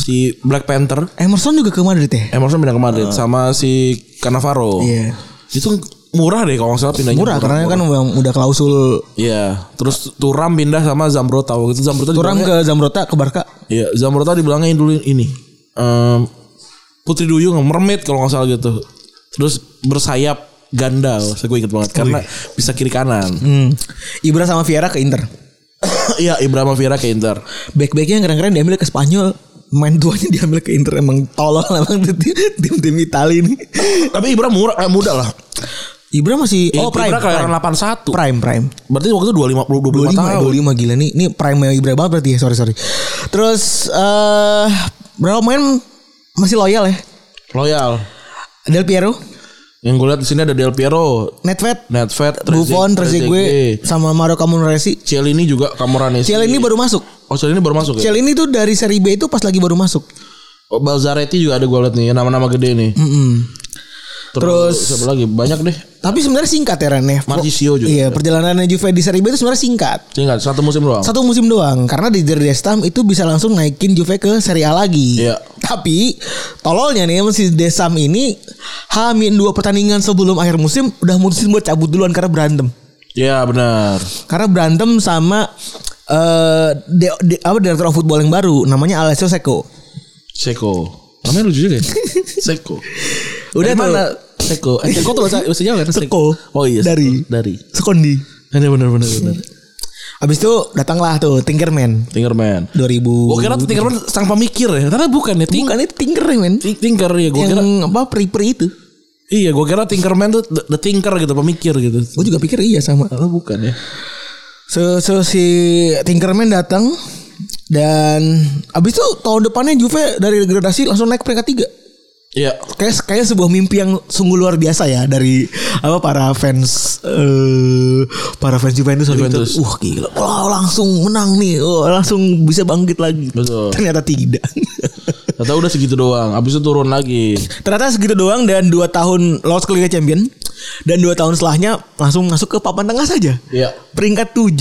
si Black Panther. Emerson juga ke Madrid ya? Emerson pindah ke Madrid sama si Cannavaro. Iya. Itu Oh. murah deh kalau nggak salah pindahnya. Murah karena kan memang udah klausul Iya, terus Turam pindah sama Zambrota waktu itu Zambrota Turam dibilangnya- ke Zamrota ke Barca. Iya, Zamrota dibilangnya dulu ini. em, Putri Duyung mermaid kalau nggak salah gitu. Terus bersayap ganda, saya gue inget banget karena bisa kiri kanan. Hmm. Ibra sama Vieira ke Inter. Iya, Ibra sama Vieira ke Inter. Back-backnya yang keren-keren diambil ke Spanyol. Main tuanya diambil ke Inter emang tolol emang tuh tim- tim-tim Itali ini. Tapi Ibra murah, eh, muda lah. Ibra masih Oh, prime, Ibra kelahiran prime. 81. prime prime. Berarti waktu itu 25 25 25, tahun. 25 gila nih. Ini prime Ibra banget berarti ya. Sorry sorry. Terus eh berapa main masih loyal ya? Loyal. Del Piero, Yang gue lihat di sini ada Del Piero, Nedved, Nedved, Buffon, Trezeguet sama Mario Camoranesi. Cielini juga Camoranesi. Ciel ini baru masuk. Oh, Cielini baru masuk ya? Ciel ini tuh dari seri B itu pas lagi baru masuk. Oh, Balzaretti juga ada gue lihat nih, nama-nama gede nih. Mm-mm. Terus, siapa lagi? Banyak deh. Tapi sebenarnya singkat ya Ren ya. Marchisio juga. Iya, perjalanannya Juve di seri B itu sebenarnya singkat. Ingat, satu musim doang. Satu musim doang karena di Der Destam itu bisa langsung naikin Juve ke Serie A lagi. Iya. Tapi tololnya nih si Destam ini hamin dua pertandingan sebelum akhir musim udah mutusin buat cabut duluan karena berantem. Iya, benar. Karena berantem sama eh de- de- apa direktur of football yang baru namanya Alessio Seko. Seko. Namanya lucu juga ya? Seko. Udah Dari tuh. mana? Seko. Eh, Seko tuh bahasa bahasa Jawa kan? Seko. Oh iya. Seko. Dari. Dari. Sekondi. Ini benar benar benar. Abis itu datanglah tuh Tinkerman Tinkerman. 2000. Gue kira tuh Tinkerman sang pemikir ya. Ternyata bukan ya. Ting bukan itu kan Tinkerman. Ting- Tinker ya gue yang kira. apa pri-pri itu. Iya, gue kira Tinkerman tuh the, the thinker gitu, pemikir gitu. Gue juga pikir iya sama. Ternyata bukan ya. So, so si Tinkerman datang dan abis itu tahun depannya Juve dari degradasi langsung naik peringkat tiga. Iya. Kayak kayak sebuah mimpi yang sungguh luar biasa ya dari apa para fans eh para fans Juventus waktu itu. Juventus. Wah gila, wah langsung menang nih, wah, langsung bisa bangkit lagi. Betul. Ternyata tidak. Ternyata udah segitu doang. Abis itu turun lagi. Ternyata segitu doang dan 2 tahun lolos ke Liga Champion dan 2 tahun setelahnya langsung masuk ke papan tengah saja. Iya. Peringkat 7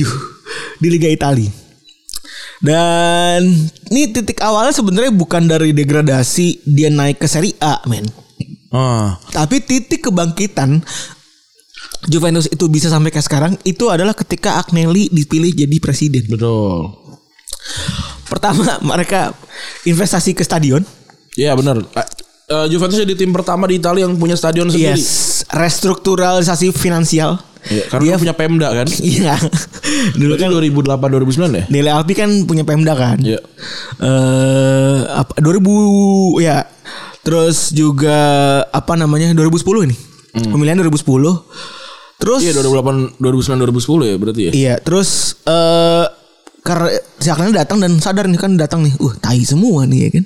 di Liga Italia. Dan ini titik awalnya sebenarnya bukan dari degradasi dia naik ke Serie A, men. Ah. Tapi titik kebangkitan Juventus itu bisa sampai kayak sekarang itu adalah ketika Agnelli dipilih jadi presiden. Betul. Pertama, mereka investasi ke stadion. Iya benar. Eh, eh, Juventus jadi tim pertama di Italia yang punya stadion sendiri. Yes, restrukturalisasi finansial. Iya, karena dia punya Pemda kan. Iya. Dulu Berarti 2008 2009 ya? Dele Alpi kan punya Pemda kan. Iya. Eh apa 2000 ya. Terus juga apa namanya 2010 ini. Pemilihan 2010. Terus Hmm. Iya 2008 2009 2010 ya berarti ya. Iya, terus eh karena si Aknan datang dan sadar nih kan datang nih, uh tai semua nih ya kan.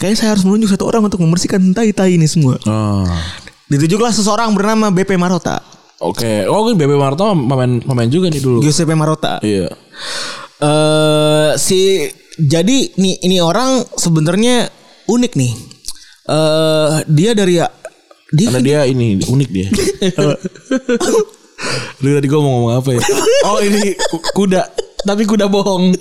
Kayaknya saya harus menunjuk satu orang untuk membersihkan tai-tai ini semua. Ah. Ditunjuklah seseorang bernama BP Marota. Oke. Oh kan BB Marta pemain pemain juga nih dulu. Giuseppe Marota. Iya. eh si jadi nih ini orang sebenarnya unik nih. Eh dia dari dia kan Karena dia ini unik dia. Lu tadi gua mau ngomong apa ya? Oh ini ku- kuda. Tapi kuda bohong.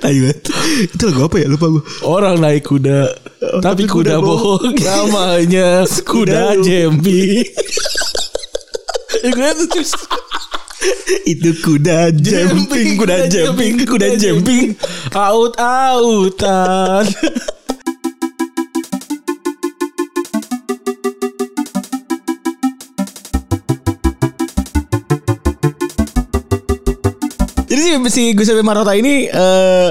Tai banget. Itu lagu apa ya lupa gue. Orang naik kuda. tapi, kuda, bohong. Namanya kuda, lu. Jambi. Ya, gue tuh terus- Itu kuda Jemping, jumping, kuda jumping, kuda jumping. Out outan. Jadi si, si Giuseppe Marota ini eh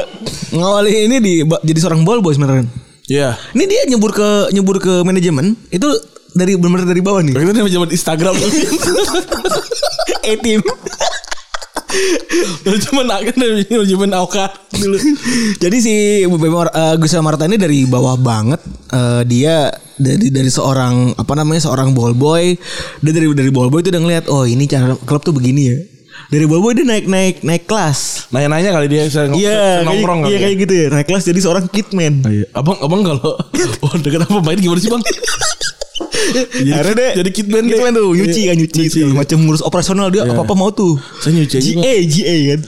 ngawali ini di jadi seorang ball boy sebenarnya. Ya. Ini dia nyebur ke nyebur ke manajemen itu dari benar dari bawah nih. Kita nama zaman Instagram. A team. Lu cuman kan, akan lu cuman Auka dulu. Jadi si Bebe Mar- eh, Giuseppe Marota ini dari bawah banget. Eh, dia dari dari seorang apa namanya seorang ball boy. Dia dari dari ball boy itu udah ngeliat oh ini cara klub tuh begini ya. Dari ball boy dia naik naik naik kelas. Nanya-nanya kali dia saya ngom- Iya, saya nongkrong kayak, kali. iya kayak gitu ya. Naik kelas jadi seorang kitman. Iya. Abang, abang kalau oh, deket apa main gimana sih bang? jadi, Akhirnya deh jadi kitman deh. Kitman tuh nyuci kan nyuci, Iya. segala macam ngurus operasional dia apa apa mau tuh. Saya nyuci aja, GA GA kan.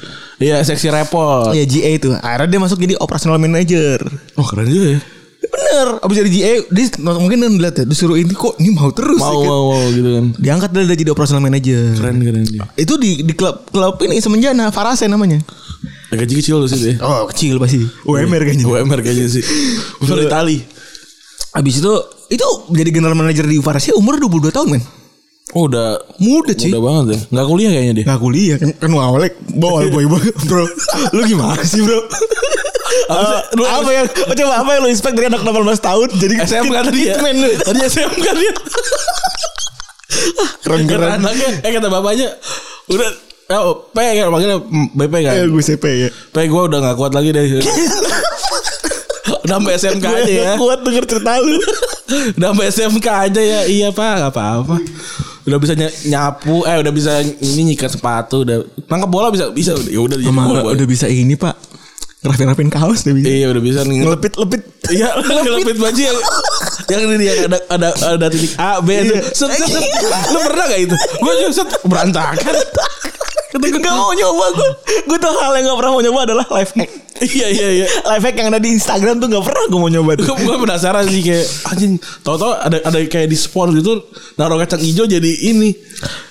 Iya, seksi repot. Iya GA itu. Akhirnya dia masuk jadi operasional manager. Oh keren juga ya. Bener. Abis jadi GA dia mungkin dia ngeliat ya disuruh ini kok ini mau terus. Mau, ya kan. mau, mau gitu kan. Diangkat dia jadi operasional manager. Keren, keren. iya. dia. Itu di di klub klub ini semenjana Farase namanya. Ya, Gaji kecil loh sih deh. gitu Oh kecil pasti. UMR kayaknya. UMR kayaknya sih. UMR Itali. Abis itu itu jadi general manager di Farsi umur 22 tahun men. Oh udah Muda cuy. Muda banget ya Gak kuliah kayaknya dia Gak kuliah kan kan awalnya bawa boy boy bro. Lu gimana sih bro? Apa- Eh, apa yang coba apa yang lu inspek dari anak 18 tahun jadi SM kan tadi ya hitman lu. Tadi SM kan dia keren Kata keren anaknya Eh kata bapaknya Udah Oh, P kan manggilnya mm, BP kan eh gue CP ya P gue udah gak kuat lagi deh Udah sampai SMK aja ya Gua kuat denger cerita lu Udah sampai SMK aja ya Iya pak gak apa-apa Udah bisa ny- nyapu Eh udah bisa ini nyikat sepatu udah Nangkep bola bisa Bisa ya udah jadi bola boy. udah bisa ini pak ngerapin rapin kaos udah bisa Iya udah bisa nih Eh, ngelepit lepit Iya, ngelepit baju yang yang ini dia ada ada ada titik A B itu. Iya. Set, set, set. Lu pernah gak itu? Gue juga set berantakan. Kata gua, Gak mau nyoba gue Gue tuh hal yang gak pernah mau nyoba adalah live hack Iya iya iya. Live hack yang ada di Instagram tuh gak pernah gue mau nyoba tuh Gue penasaran sih kayak anjing. Tahu-tahu ada ada kayak di sport gitu naruh kacang hijau jadi ini.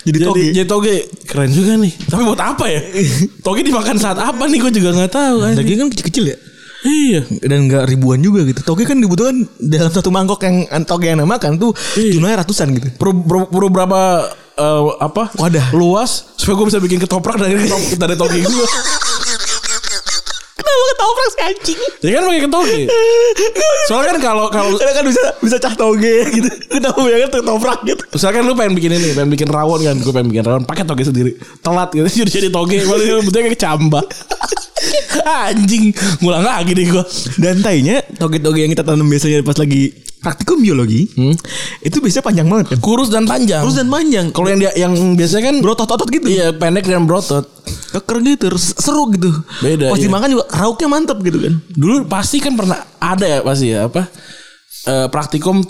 Jadi toge. Jadi toge. Keren juga nih. Tapi buat apa ya? Toge dimakan saat apa nih? Gue juga nggak tahu. anjing. Daging kan kecil-kecil ya Iya. dan nggak ribuan juga gitu. Toge kan dibutuhkan dalam satu mangkok yang toge yang makan tuh jumlahnya ratusan gitu. Perlu perlu- perlu berapa eh, apa Wadah. luas supaya gue bisa bikin ketoprak dari ketop- dari toge gue. Kenapa ketoprak si anjing? Ya kan pakai ketoge. Soalnya kan kalau kalau Karena kan bisa bisa cah toge gitu. Kenapa bayangin ketoprak gitu? misalkan kan lu pengen bikin ini, pengen bikin rawon kan, gue pengen bikin rawon pakai toge sendiri. Telat gitu jadi jadi toge, malah dia bentuknya kayak camba. Anjing, ngulang lagi deh gue. Dan tainya toge-toge yang kita tanam biasanya pas lagi praktikum biologi itu biasanya panjang banget kan. Kurus dan panjang. Terus dan panjang. Kalau yang dia yang biasanya kan berotot-otot gitu. iya pendek dan berotot. Keker gitu, terus seru gitu. Beda, Pas iya. dimakan juga rauknya mantap gitu kan. Dulu pasti kan pernah ada ya pasti ya apa eh, praktikum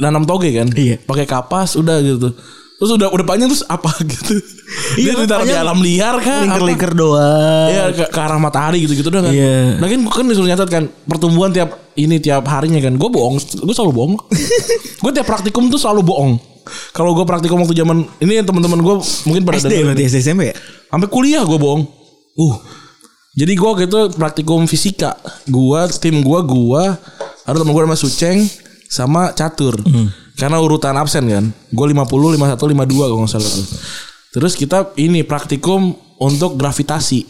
nanam toge kan. Iya. Pakai kapas udah gitu. Terus udah udah panjang terus apa gitu. Iya, Dia ditaruh di panjang. alam liar Ya, kan. apa? Lingker-lingker doang. Iya ke, ke arah matahari gitu-gitu doang kan. Iya. Nah kan gue kan disuruh nyatet kan pertumbuhan tiap ini tiap harinya kan. Gue bohong, gue selalu bohong. gue tiap praktikum tuh selalu bohong. Kalau gue praktikum waktu zaman ini teman-teman gue mungkin pada SD dengerin. berarti SD SMP ya? sampai kuliah gue bohong. Uh. Jadi gue gitu praktikum fisika. Gua tim gua gua ada teman gue sama Suceng sama Catur. Hmm. Karena urutan absen kan. Gue 50, 51, 52 kalau nggak salah tuh. Terus kita ini praktikum untuk gravitasi.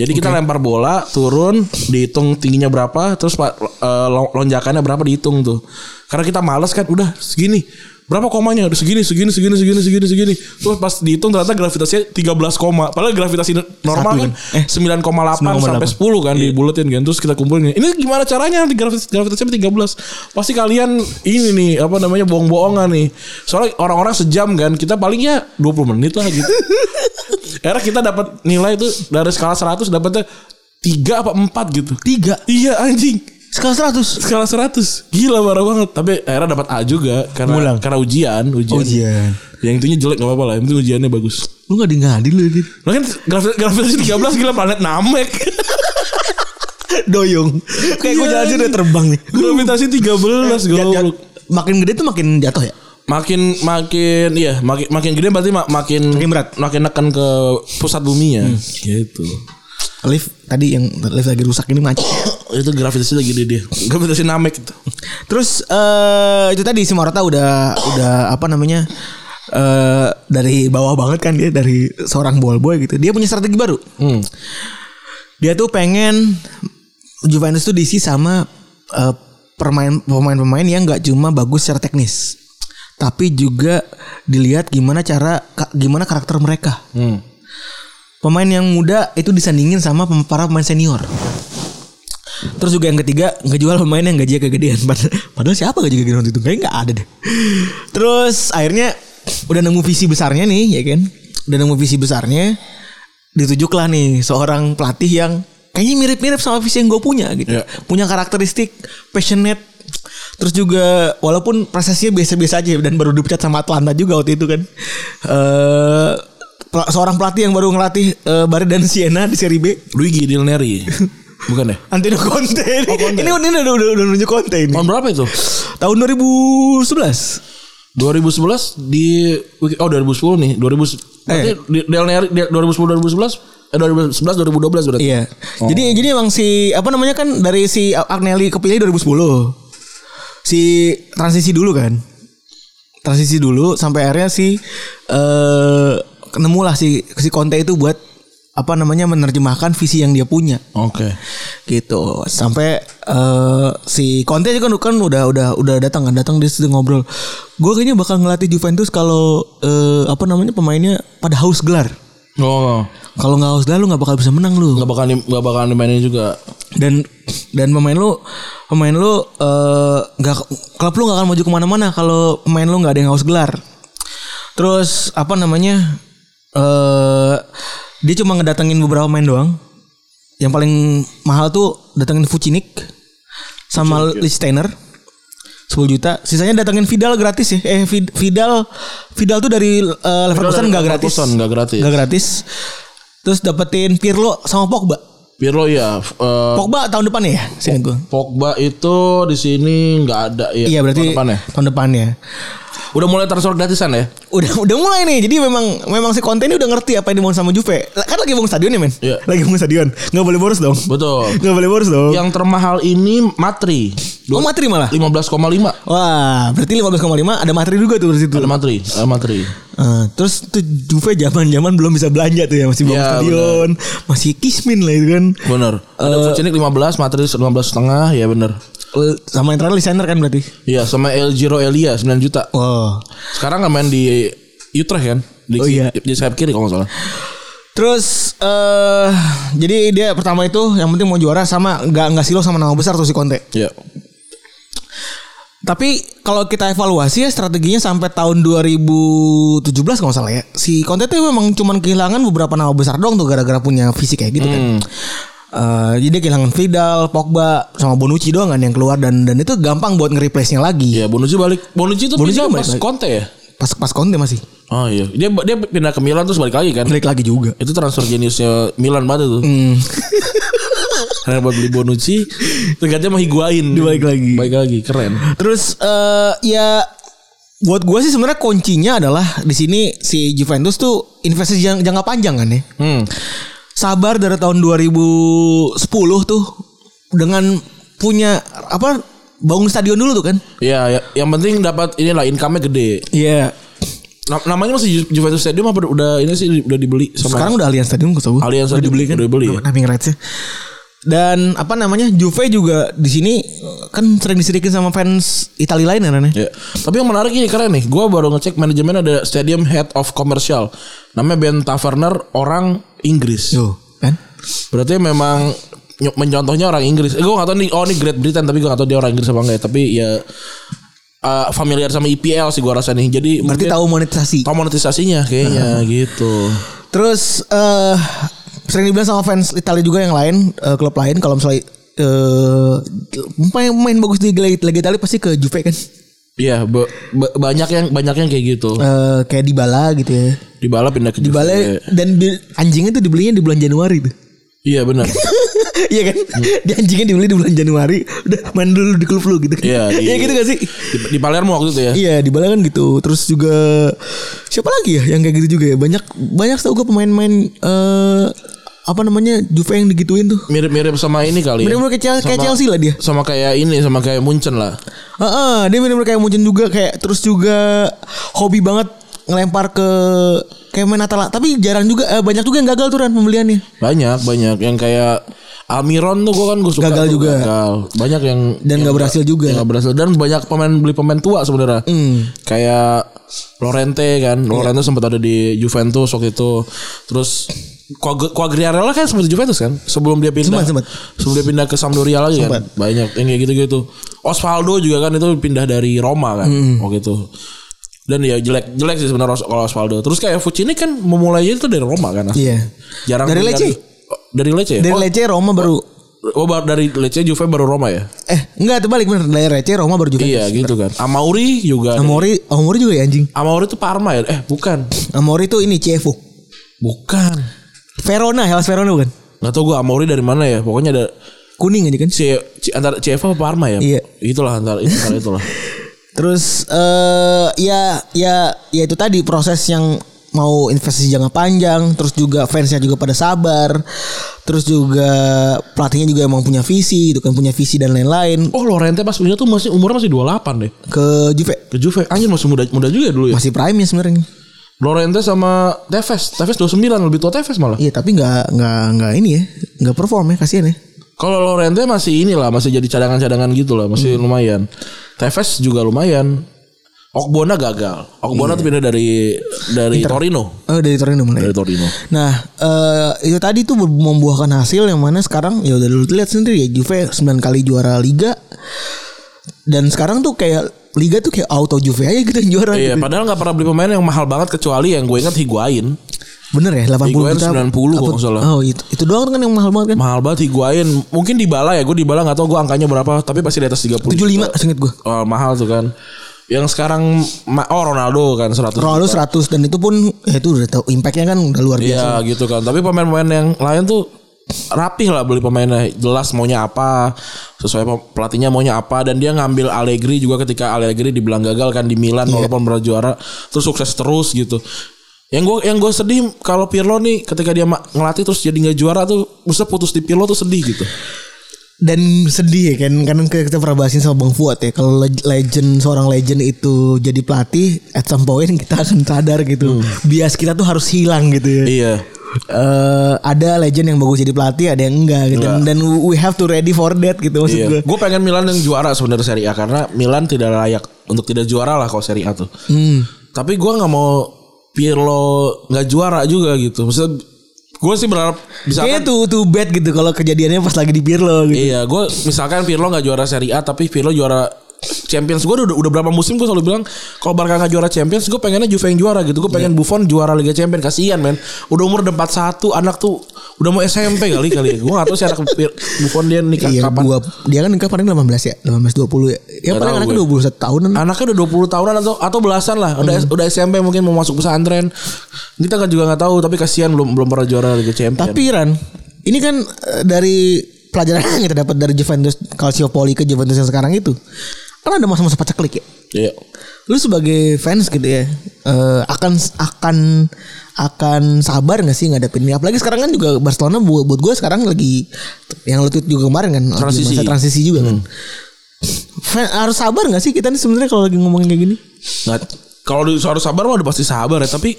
Jadi kita lempar bola turun, dihitung tingginya berapa, terus pak eh, lo- lonjakannya berapa dihitung tuh. Karena kita males kan, udah segini. Berapa komanya? Udah segini, segini, segini, segini, segini, segini. Terus pas dihitung ternyata gravitasinya 13 koma. Padahal gravitasi normal Satu kan kan? Eh, 9,8 sampai 9,8. 10 kan dibuletin kan. Terus kita kumpulin. Ini gimana caranya nanti gravitas gravitasinya 13? Pasti kalian ini nih apa namanya bohong-bohongan nih. Soalnya orang-orang sejam kan, kita palingnya 20 menit lah gitu. Era kita dapat nilai itu dari skala 100 dapatnya 3 apa 4 gitu. Tiga. Iya anjing. Skala 100. Skala 100. Gila marah banget. Tapi akhirnya dapat A juga karena Ngulang. karena ujian, ujian. Ujian. Yang itunya jelek gak apa-apa lah, yang penting ujiannya bagus. Lu gak di nggak adil lu Dit. Lah kan gravi- gravitasi 13 gila planet Namek. Doyong Kayak gue Iya. jalan sini udah terbang nih gravitasi 13 Jat- jat- goblok. Makin gede tuh makin jatuh ya Eh, Makin makin iya, makin makin gede berarti ma- makin Makin berat. makin neken ke pusat bumi ya. Gitu. Lift tadi yang lift lagi rusak ini macet Itu gravitasi lagi gede dia. Gravitasi Namek itu. Terus eh itu tadi si Morata udah Udah apa namanya eh Dari bawah banget kan dia Dari seorang ball boy gitu Dia punya strategi baru Hmm. Dia tuh pengen Juventus tuh diisi sama eh, permain- Pemain-pemain yang gak cuma bagus secara teknis Tapi juga dilihat gimana cara ka- Gimana karakter mereka Hmm. pemain yang muda itu disandingin sama pem- para pemain senior. Terus juga yang ketiga ngejual pemain yang gajinya kegedean. Pad- Padahal siapa gaji kegedean waktu itu? Kayaknya nggak ada deh. Terus akhirnya udah nemu visi besarnya nih, ya kan? Udah nemu visi besarnya. Ditunjuklah nih seorang pelatih yang kayaknya mirip-mirip sama visi yang gue punya gitu. Iya. Punya karakteristik passionate. Terus juga walaupun prosesnya biasa-biasa aja dan baru dipecat sama Atlanta juga waktu itu kan. Eh pel- seorang pelatih yang baru ngelatih eh, Bari dan Siena di Serie B. Luigi Del Neri. Bukan ya? Antino Conte ini. ini, ini udah, udah, udah nunjuk Conte ini. Tahun berapa itu? Tahun 2011. 2011 di oh 2010 nih. 2000 berarti Di- Del Neri Del- 2010 2011 eh 2011 2012 berarti. Iya. Jadi jadi emang si apa namanya kan dari si Agnelli kepilih 2010. si transisi dulu kan. Transisi dulu sampai akhirnya si eh kenemulah si si Conte itu buat apa namanya menerjemahkan visi yang dia punya Oke. gitu sampai eh, si Conte kan kan udah udah udah datang kan datang dia sudah ngobrol gue kayaknya bakal ngelatih Juventus kalau eh, apa namanya pemainnya pada haus gelar Oh. kalau nggak haus gelar lu nggak bakal bisa menang lu Gak bakal di, gak bakal dimainin juga. dan dan pemain lu pemain lu eh, nggak klub lu nggak akan maju kemana-mana kalau pemain lu nggak ada yang haus gelar terus apa namanya eh dia cuma ngedatengin beberapa pemain doang yang paling mahal tuh datengin Vucinic sama ya. Lichtensteiner 10 juta sisanya datengin Vidal gratis ya eh Vid- Vidal Vidal tuh dari eh, Leverkusen nggak gratis Leverkusen nggak gratis. nggak gratis terus dapetin Pirlo sama Pogba Pirlo ya. f- eh, Pogba tahun depan ya, sini gue. Pogba itu di sini nggak ada ya. Iya berarti tahun depannya. tahun depannya. Udah mulai transfer gratisan ya? Udah udah mulai nih. Jadi memang memang si konten ini udah ngerti apa yang dibangun sama Juve. Lah, Kan lagi bangun stadion ya, men. Iya. Lagi bangun stadion. Enggak boleh boros dong. Betul. Iya. Enggak boleh boros dong. Yang termahal ini Matri. Oh, Matri malah. Iya. 15,5. Wah, berarti 15,5 ada materi juga tuh di situ. Ada Matri, ada Matri. Eh, terus tuh Juve zaman-zaman belum bisa belanja tuh ya, masih bangun Iya, stadion, masih kismin lah itu kan. Bener. Ada Vucinic 15, Matri 15 setengah, ya bener. Eh, Sama yang terakhir Lisander kan berarti. Iya, sama El Giro Elia 9 juta. Wow. Sekarang nggak main di Utrecht kan? Di, Oh, iya. di sayap kiri kalau nggak salah. Terus eh jadi dia pertama itu yang penting mau juara sama nggak nggak silo sama nama besar tuh si Conte. Iya. Tapi kalau kita evaluasi ya strateginya sampai tahun 2017 kalau nggak salah ya. Si Conte tuh memang cuman kehilangan beberapa nama besar doang tuh gara-gara punya visi kayak gitu kan. Eh, jadi dia kehilangan Vidal, Pogba, sama Bonucci doang kan yang keluar dan dan itu gampang buat nge-replace-nya lagi. Iya, Bonucci balik. Bonucci itu Bonucci pindah kan pas balik- Conte ya? Pas pas Conte masih. Oh iya. Dia dia pindah ke Milan terus balik lagi kan? Balik lagi juga. Itu transfer jeniusnya Milan banget itu. Hmm. Karena buat beli Bonucci, tergantinya sama Higuain. Dibalik lagi. Balik lagi, keren. Terus eh ya buat gue sih sebenarnya kuncinya adalah di sini si Juventus tuh investasi jang- jangka panjang kan ya. Hmm. Sabar dari tahun 2010 tuh dengan punya apa bangun stadion dulu tuh kan. Iya, ya, yang penting dapat inilah income-nya gede. Iya. Na- namanya masih Ju- Juventus Stadium apa udah- udah ini sih udah dibeli sama Sekarang udah Allianz Stadium kok Allianz udah Stadium, dibeli kan. udah dibeli, ya? Naming rights-nya. Dan apa namanya Juve juga di sini kan sering disedikin sama fans Italia lain kan ya. Ya. Tapi yang menarik ini keren nih. Gua baru ngecek manajemen ada Stadium Head of Commercial. Namanya Ben Taverner orang Inggris. Tuh, kan? Berarti memang ny- mencontohnya orang Inggris. Eh, gua gak tahu nih oh ini Great Britain tapi gua gak tahu dia orang Inggris apa enggak ya. Tapi ya eh, familiar sama IPL sih gua rasa nih. Jadi Berarti mungkin tahu monetisasi. tahu monetisasinya kayaknya gitu. Terus eh sering dibilang sama fans Italia juga yang lain, eh, klub lain kalau misalnya eh pemain main bagus di Liga Liga Italia pasti ke Juve kan. Iya, ba- ba- banyak yang banyak yang kayak gitu. Eh kayak Dybala gitu ya. Dibala pindah ke Dybala Juve. dan bi- anjingnya tuh dibelinya di bulan Januari tuh. Iya benar. Iya kan? Di anjingnya dibeli di bulan Januari, udah main dulu di klub lu gitu kan. Iya, di- Iya gitu gak sih? Di, di Palermo waktu itu ya. Iya, Dybala kan gitu. Terus juga siapa lagi ya yang kayak gitu juga ya? Banyak banyak tau gue pemain-pemain eh apa namanya Juve yang digituin tuh. Mirip-mirip sama ini kali. ya. Bener-bener kayak Chelsea- kayak Sama- Chelsea lah dia. Sama kayak ini, sama kayak Munchen lah. Heeh, dia bener-bener kayak Munchen juga kayak terus juga hobi banget ngelempar ke kayak main Atalanta. Tapi jarang juga eh, banyak juga yang gagal tuh Ran pembeliannya. Banyak, banyak yang kayak Almiron tuh gue kan gue suka Gagal tuh, juga. gagal. Banyak yang Dan yang nggak berhasil juga. Hmm. yang nggak berhasil dan banyak pemain beli pemain tua sebenarnya. Kayak Lorente Iya. kan, Lorente sempat ada di Juventus waktu itu. Terus Quag- Quagliarella kan sempat di Juventus kan sebelum dia pindah. Sempat, sempat. Sebelum dia pindah ke Sampdoria lagi Sempat. kan. Banyak yang kayak gitu-gitu. Osvaldo juga kan itu pindah dari Roma kan Hmm. waktu itu. Dan ya jelek jelek sih sebenarnya Os- kalau Osvaldo. Terus kayak Fucini kan memulainya itu dari Roma kan. Iya. Jarang Dari pindah- Lecce? Dari Lecce. ya? Dari Oh, Lecce Roma baru Oh baru dari Lecce Juve baru Roma ya? eh enggak terbalik bener dari Lecce Roma baru juga. Iya gitu kan. Amauri juga. Amori Amori juga ya anjing. Amauri itu Parma ya? Eh bukan. Amori tuh ini CFO. Bukan. Verona, Hellas Verona bukan? Gak tau gue Amauri dari mana ya. Pokoknya ada Kuning aja kan. C, C- antara CFA apa Parma ya? Iya. Itulah antara, antara itulah. Terus eh ya ya ya itu tadi proses yang mau investasi jangka panjang terus juga fansnya juga pada sabar terus juga pelatihnya juga emang punya visi itu kan punya visi dan lain-lain Oh Lorente pas punya tuh masih umurnya masih 28 deh. ke Juve Ke Juve. Anjir masih muda muda juga dulu ya. masih prime ya sebenarnya Lorente sama Tevez. Tevez 29 lebih tua Tevez malah. iya tapi nggak nggak nggak ini ya nggak perform ya kasihan ya Kalau Lorente masih inilah masih jadi cadangan-cadangan gitu lah, masih lumayan. Tevez juga lumayan. Okbona gagal. Okbona tuh pindah dari dari Torino. oh dari Torino mulai Dari Torino. Nah, eh itu tadi tuh membuahkan hasil yang mana sekarang ya udah lu lihat sendiri ya Juve 9 kali juara liga. Dan sekarang tuh kayak liga tuh kayak auto Juve aja gitu yang juara. Iya, gitu. padahal nggak pernah beli pemain yang mahal banget kecuali yang gue ingat Higuain. Bener ya 80 Higuain juta. 90 kan kalau apa- nggak salah. Oh, itu itu doang kan yang mahal banget kan. Mahal banget Higuain. Mungkin Dybala ya, gue Dybala nggak tahu gue angkanya berapa, tapi pasti di atas 30. 75 seinget gue. Oh, mahal tuh kan. Yang sekarang ma- oh Ronaldo kan 100. Ronaldo 100 dan itu pun ya itu udah tahu impactnya kan udah luar biasa. Iya gitu kan. Tapi pemain-pemain yang lain tuh rapih lah beli pemainnya jelas maunya apa sesuai pe- pelatihnya maunya apa dan dia ngambil Allegri juga ketika Allegri dibilang gagal kan di Milan walaupun pernah juara terus sukses terus gitu yang gue yang gue sedih kalau Pirlo nih ketika dia ma- ngelatih terus jadi nggak juara tuh bisa putus di Pirlo tuh sedih gitu Dan sedih ya kan karena kita pernah bahasin sama Bang Fuad ya kalau le- legend seorang legend itu jadi pelatih at some point kita akan sadar Hmm. gitu. Bias kita tuh harus hilang gitu ya. iya eh ada legend yang bagus jadi pelatih, ada yang enggak gitu. Dan, dan we have to ready for that gitu maksud iya gue. gue pengen Milan yang juara sebenarnya Serie A karena Milan tidak layak untuk tidak juara lah kalau Serie A tuh Hmm. Tapi gue nggak mau Pirlo nggak juara juga gitu. Maksudnya gue sih berharap Kayaknya misalkan tuh too bad gitu kalau kejadiannya pas lagi di Pirlo gitu. iya gue misalkan Pirlo nggak juara Serie A tapi Pirlo juara Champions gue udah udah berapa musim gue selalu bilang kalau Barca nggak juara Champions gue pengennya Juve yang juara gitu gue pengen Iya. Buffon juara Liga Champions kasihan men udah umur 41 anak tuh udah mau SMP kali kali ya. gue nggak tahu si anak Pir- Buffon dia nikah Iya, kapan gua dia kan nikah paling 18 ya, 18 20 ya. Ya paling Nggak tahu anaknya gue. Iya. 21 tahunan. anaknya udah 20 tahunan atau atau belasan lah udah udah SMP mungkin mau masuk pesantren kita kan juga nggak tahu tapi kasihan belum belum pernah juara Liga Champions Tapi Ran, ini kan eh, dari pelajaran yang kita dapat dari Juventus Calciopoli ke Juventus yang sekarang itu. Kan ada masa-masa paceklik ya. Iya. Lu sebagai fans gitu ya, eh, akan akan akan sabar nggak sih ngadepin ini? Apalagi sekarang kan juga Barcelona buat buat gue sekarang lagi yang lu tweet juga kemarin kan lagi Transisi. masa transisi juga kan. Fan- harus sabar nggak sih kita nih sebenarnya kalau lagi ngomongin kayak gini? Nggak, Nah, kalau di- harus sabar mah udah pasti sabar ya, tapi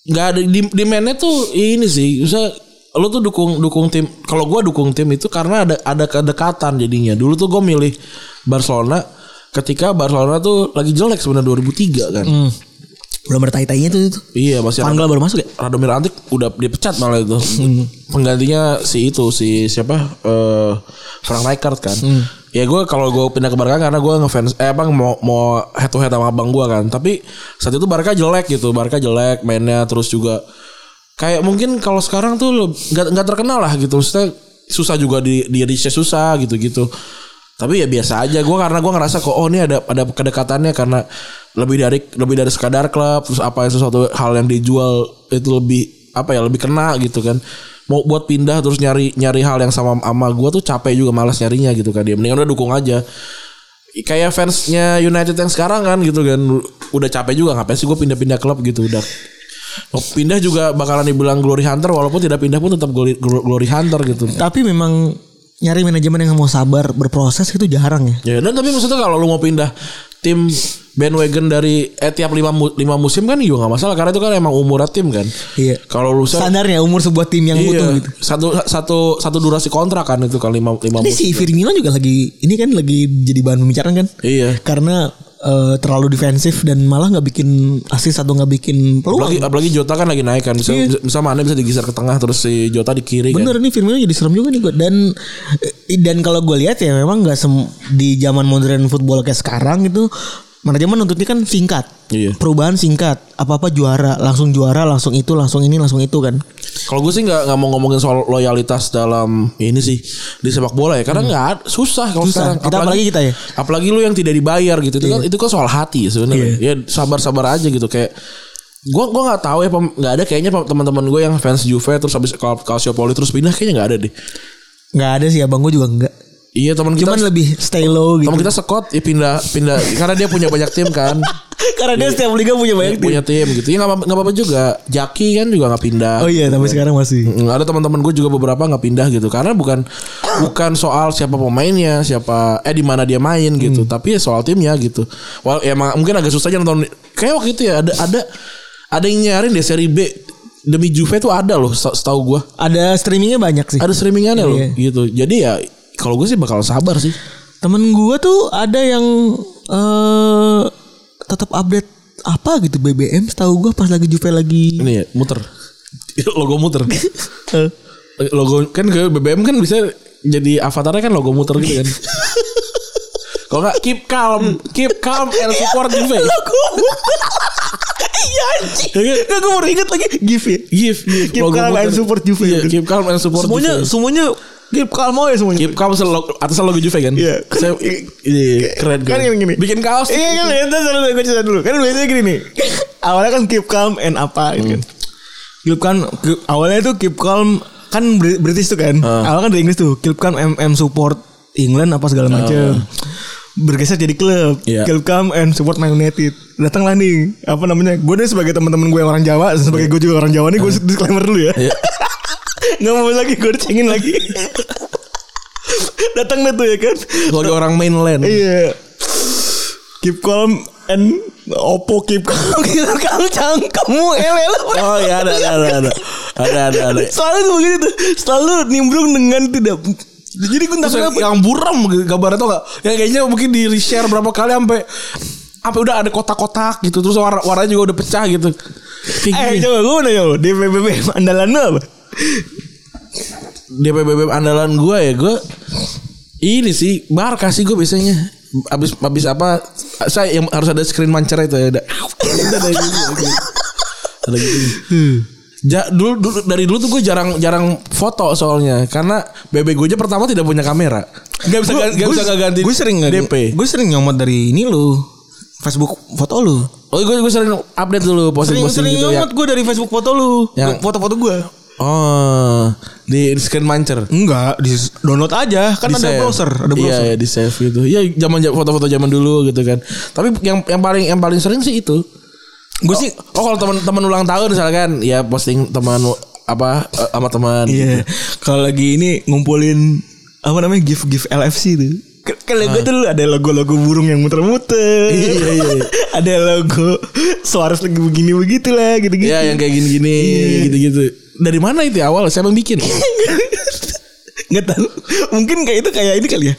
nggak ada di demandnya tuh ini sih. Bisa lu tuh dukung dukung tim. Kalau gua dukung tim itu karena ada ada kedekatan jadinya. Dulu tuh gua milih Barcelona ketika Barcelona tuh lagi jelek sebenarnya 2003 kan. Hmm. Belum ada tai-tainya tuh itu. Iya, masih Van ada. Gaal baru masuk ya? Hmm. Radomir Antik udah dipecat malah itu. Penggantinya si itu si siapa? Eh Frank Rijkaard kan. Hmm. Ya gue kalau gue pindah ke Barca karena gue ngefans eh abang mau mau head to head sama abang gue kan. Tapi saat itu Barca jelek gitu. Barca jelek mainnya terus juga kayak mungkin kalau sekarang tuh lo- nggak nggak terkenal lah gitu. Maksudnya susah juga di di reach-nya susah gitu-gitu. Tapi ya biasa aja gue karena gue ngerasa kok oh ini ada ada kedekatannya karena lebih dari lebih dari sekadar klub terus apa yang sesuatu hal yang dijual itu lebih apa ya lebih kena gitu kan mau buat pindah terus nyari nyari hal yang sama sama gue tuh capek juga malas nyarinya gitu kan dia mendingan udah dukung aja kayak fansnya United yang sekarang kan gitu kan udah capek juga ngapain sih gue pindah-pindah klub gitu udah Mau pindah juga bakalan dibilang glory hunter walaupun tidak pindah pun tetap glory, glory hunter gitu Tapi memang nyari manajemen yang mau sabar berproses itu jarang ya. Ya dan tapi maksudnya kalau lu mau pindah tim bandwagon dari eh, tiap lima, mu- lima musim kan juga nggak masalah karena itu kan emang umurnya tim kan. Iya. Kalau lu sa- Standarnya umur sebuah tim yang butuh iya, gitu. satu satu satu durasi kontrak kan itu kan lima lima Ini musim. si Firmino juga lagi ini kan lagi jadi bahan pembicaraan kan? Iya. Karena eh, terlalu defensif dan malah nggak bikin asis atau nggak bikin peluang. Apalagi, apalagi Jota kan lagi naik kan bisa Iya. bisa, bisa mana bisa digeser ke tengah terus si Jota di kiri kan. Bener nih Firmino jadi serem juga nih gue dan eh, dan kalau gue lihat ya memang nggak sem- di zaman modern football kayak sekarang itu manajemen nuntutnya kan singkat. Iya. Perubahan singkat, apa-apa juara, langsung juara, langsung itu, langsung ini, langsung itu kan. Kalau gue sih nggak nggak mau ngomongin soal loyalitas dalam ini sih di sepak bola ya karena nggak ad- susah kalau Hmm. Susah. sekarang Kita apalagi kita ya. Iya. apalagi lu yang tidak dibayar gitu itu kan itu kan soal hati ya sebenarnya ya sabar-sabar aja gitu kayak gue gua nggak tahu ya pem- nggak ada kayaknya pem- teman-teman gue yang fans Juve terus habis Cal- Calciopoli terus pindah kayaknya nggak ada deh Nggak ada sih abang gue juga nggak. iya teman kita Cuman lebih stay low gitu. teman kita Scott ya pindah pindah karena dia punya banyak tim kan Karena dia setiap liga punya banyak tim. punya tim gitu ya nggak apa- nggak apa-apa juga Jaki kan juga nggak pindah Oh iya, tapi sekarang masih. Mm, ada teman-teman gue juga beberapa nggak pindah gitu karena bukan bukan soal siapa pemainnya siapa eh di mana dia main gitu tapi ya soal timnya gitu Wal ya emang mungkin agak susah aja nonton kayak waktu itu ya ada ada ada yang nyarin deh seri B demi Juve tuh ada loh se- setahu gue Ada streamingnya banyak sih. ada streamingannya loh Iya. gitu jadi ya kalau gue sih bakal sabar sih Temen gua tuh ada yang eh tetap update apa gitu BBM setahu gua pas lagi Juve lagi ini ya muter logo muter Eh. logo kan ke BBM kan bisa jadi avatarnya kan logo muter gitu kan kalau nggak keep calm keep calm and support Juve Iya anjing. Nah, gua baru inget lagi GIF ya. give give Keep calm and support Juve. Iya, keep calm and support semuanya Juve. semuanya keep calm aja semuanya. keep calm sel- log- atasnya logo Juve kan Iya. Saya- iya, keren Kan yang gini. bikin kaos Iya kan itu dulu gue cerita dulu. Kan biasanya gini nih. Awalnya kan keep calm and apa gitu kan. Hmm. Keep calm keep- awalnya tuh keep calm kan Br- British tuh kan. Hmm. Awalnya kan dari Inggris tuh keep calm MM support England apa segala macam. Bergeser jadi klub. Hmm. Iya. Keep calm and support Man United. Datanglah nih apa namanya? Gue nih sebagai teman-teman gue yang orang Jawa, sebagai gue juga orang Jawa nih gue disclaimer dulu ya. Hmm. Iya. Nggak mau lagi gue dicengin lagi. Datang deh tuh ya kan. logo orang mainland Iya. Keep calm and Oppo keep calm. Keep calm eh, cangkemmu elel. oh iya ada ada ada ada ada ada, ada. Selalu tuh begitu tuh. Selalu nimbrung dengan tidak jadi gue takut Terus yang, apa? yang buram gitu gambarnya tuh gak Yang kayaknya mungkin di reshare berapa kali sampai sampai udah ada kotak-kotak gitu terus warna warnanya juga udah pecah gitu. Kayak Eh gini. coba gue mau nanya lo di PPP andalan lo apa? DPBB andalan gue ya gue ini sih Barca sih gue biasanya abis abis apa saya yang harus ada screen mancer itu ya ada ada gitu, ada gitu. Ja, dulu, dulu dari dulu tuh gue jarang jarang foto soalnya karena bebek gue aja pertama tidak punya kamera nggak bisa nggak bisa nggak ganti Gue sering nggak- DP Gue sering nyomot dari ini lo. Facebook foto lu. Oh gue gue sering update dulu posting posting Sering-sering gitu ya. nyomot Ya. gue dari Facebook foto lu. Yang- Foto-foto gue. Oh di screen mancer. Enggak, di download aja kan ada Di-save. browser, ada Iya, browser. Iya, di save gitu. Iya, zaman foto-foto zaman dulu gitu kan. Tapi yang yang paling yang paling sering sih itu. Gue sih oh kalau teman-teman ulang tahun misalkan ya posting teman apa eh, sama teman. Iya. Kalau lagi ini ngumpulin apa namanya gift gift LFC itu. Kalau gue tuh dulu ada logo-logo burung yang muter-muter. Ah. Iya, iya, iya. ada logo Suarez lagi begini begitulah gitu-gitu. Iya, yang kayak gini-gini Iya. gitu-gitu. Dari mana itu ya, awal? Siapa yang bikin? Nggak tahu. Mungkin kayak itu kayak ini kali ya.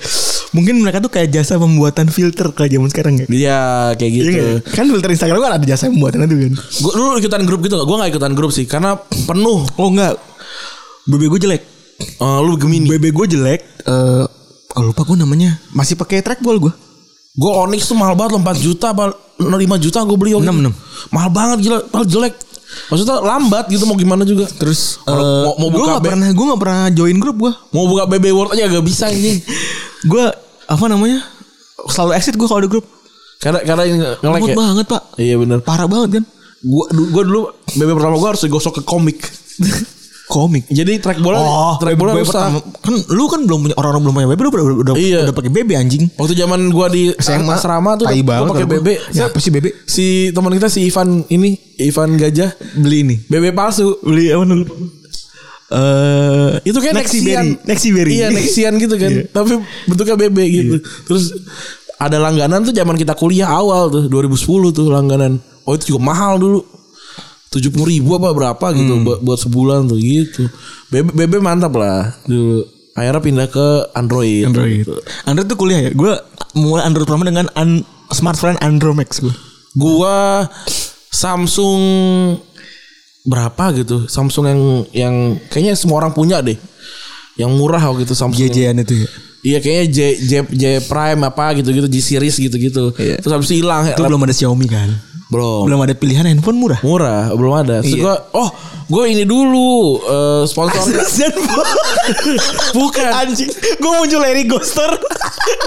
Mungkin mereka tuh kayak jasa pembuatan filter kayak zaman sekarang ya. Iya, kayak Iya gitu. nggak? Kan filter Instagram kan ada jasa pembuatan itu kan. Gue dulu ikutan grup gitu gak? Gue gak ikutan grup sih karena penuh. Oh enggak. BB gue jelek. Eh, lu Gemini. BB gue jelek. Eh oh, lupa gue namanya. Masih pakai trackball gue. Gue Onyx tuh mahal banget loh 4 juta apa 5 juta gue beli waktu Enam, itu. enam. Mahal banget gila Mahal jelek Maksudnya lambat gitu mau gimana juga Terus mau, mau, gue buka gak B- Eh, pernah gue gak pernah join grup gue mau buka BB World aja gak bisa ini gue apa namanya selalu exit gue kalau di grup Karena karena ini nge-lag Lemot ya banget pak Iya bener parah banget kan Gue gua dulu BB pertama gue harus digosok ke komik komik Jadi track bola Track bola BB rusak pertama kan lu kan belum punya orang-orang belum punya BB lu udah udah, udah, Iya. udah pakai BB anjing Waktu zaman gue di asrama tuh tai banget Gue pakai kalau BB gua. ya, apa sih BB Si teman kita si Ivan ini Ivan Gajah beli ini BB palsu beli apa dulu Eh itu kayak Nexian. Nexiberry Iya, Nexian gitu kan. Iya. Tapi bentuknya BB gitu. Terus ada langganan tuh zaman kita kuliah awal tuh 2010 tuh langganan. Oh itu juga mahal dulu. 70 ribu apa berapa gitu buat, buat sebulan tuh gitu. BB, BB mantap lah dulu. Akhirnya pindah ke Android. Android Android tuh kuliah ya gue mulai Android pertama dengan an smartphone Andromax gue Gua Samsung berapa gitu. Samsung yang yang kayaknya semua orang punya deh. Yang murah waktu itu Samsung. yang- JJ-an itu ya Iya kayaknya J J J Prime apa gitu-gitu J series gitu-gitu. Iya. Terus habis itu hilang ya. itu belum ada Xiaomi kan belum. belum ada pilihan handphone murah Murah, belum ada. Terus gua, oh, gue ini dulu eh, sponsor bukan. anjing gue muncul Larry Ghoster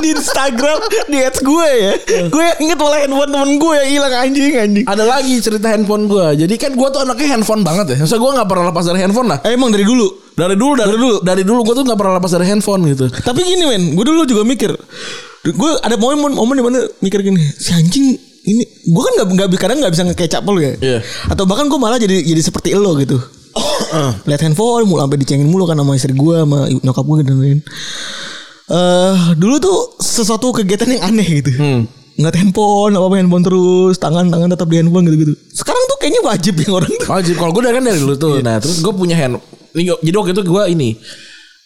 di Instagram di ads gue ya gue inget malah handphone temen gue yang hilang anjing anjing Ada lagi cerita handphone gua. Jadi kan gua tuh anaknya handphone banget ya. Maksudnya gua nggak pernah lepas dari handphone lah. Eh, emang dari dulu Dari dulu, dari dulu, dari dulu gua tuh nggak pernah lepas dari handphone gitu. tapi gini men gue dulu juga mikir gue ada momen momen dimana mikir gini si anjing ini gue kan nggak nggak kadang nggak bisa ngekecap lu ya Iya. atau bahkan gue malah jadi jadi seperti lo gitu lihat handphone mulu sampai dicengin mulu kan sama istri gue sama i- nyokap gue dan lain eh dulu tuh sesuatu kegiatan yang aneh gitu ngeliat handphone apa apa handphone terus tangan tangan tetap di handphone gitu gitu sekarang tuh kayaknya wajib yang orang tuh Wajib. Kalau gue dari kan dari dulu tuh. Iya. Nah terus gue punya hand. ini gua- Jadi waktu itu gue ini.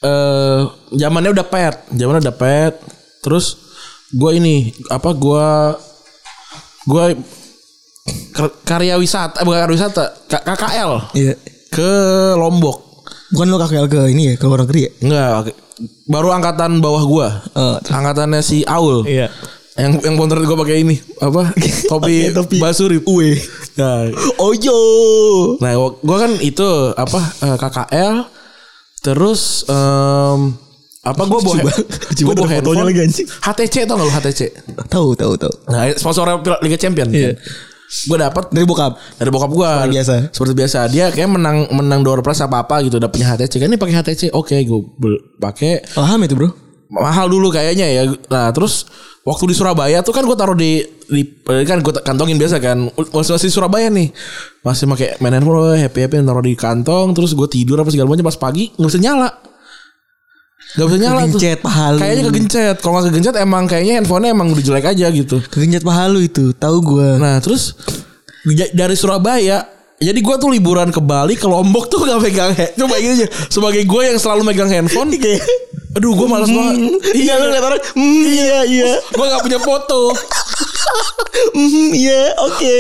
eh zamannya udah pet. Zamannya udah pet. Terus gue ini. Apa gue. Gue. ker- Karya wisata. eh, Bukan karya wisata. K- KKL. Iya. Ke Lombok. bukan lo kakek ke ini ya ke luar negeri ya Enggak. Baru angkatan bawah gue. Eh, angkatannya si Aul. Iya. Yang yang bontot gue pakai ini apa? Topi, Pakai topi. Basurip. Uwe. Nah, ojo Nah, gua, gua kan itu apa eh, KKL terus em, apa gua bawa Coba- coba gua bawa ada fotonya handphone. lagi, anjing. HTC tau gak lu HTC? tahu tahu tahu Nah, sponsor Liga Champion. Iya. Gue dapat dari bokap dari bokap gua Seperti biasa. Seperti biasa. Dia kayak menang menang door prize apa apa gitu udah punya HTC. Kan ini pakai HTC. Oke, gua bel- pakai paham itu bro mahal dulu kayaknya ya. Nah, terus waktu di Surabaya tuh kan gue taruh di di kan gue kantongin biasa kan. Masih masih Surabaya nih. Masih pakai main handphone happy happy eh, taruh di kantong terus gue tidur apa segala macam pas pagi nggak bisa nyala. Gak bisa nyala Kegencet tuh. paha lu. Kayaknya kegencet. Kalau nggak kegencet emang kayaknya handphonenya emang udah jelek aja gitu. kegencet paha lu itu tahu gue Nah terus ja- dari Surabaya jadi gue tuh liburan ke Bali ke Lombok tuh gak pegang handphone. Coba gini aja sebagai gue yang selalu megang handphone. Aduh gue malas banget. iya lu liat orang mm, iya iya Gue gak punya foto. mm, iya oke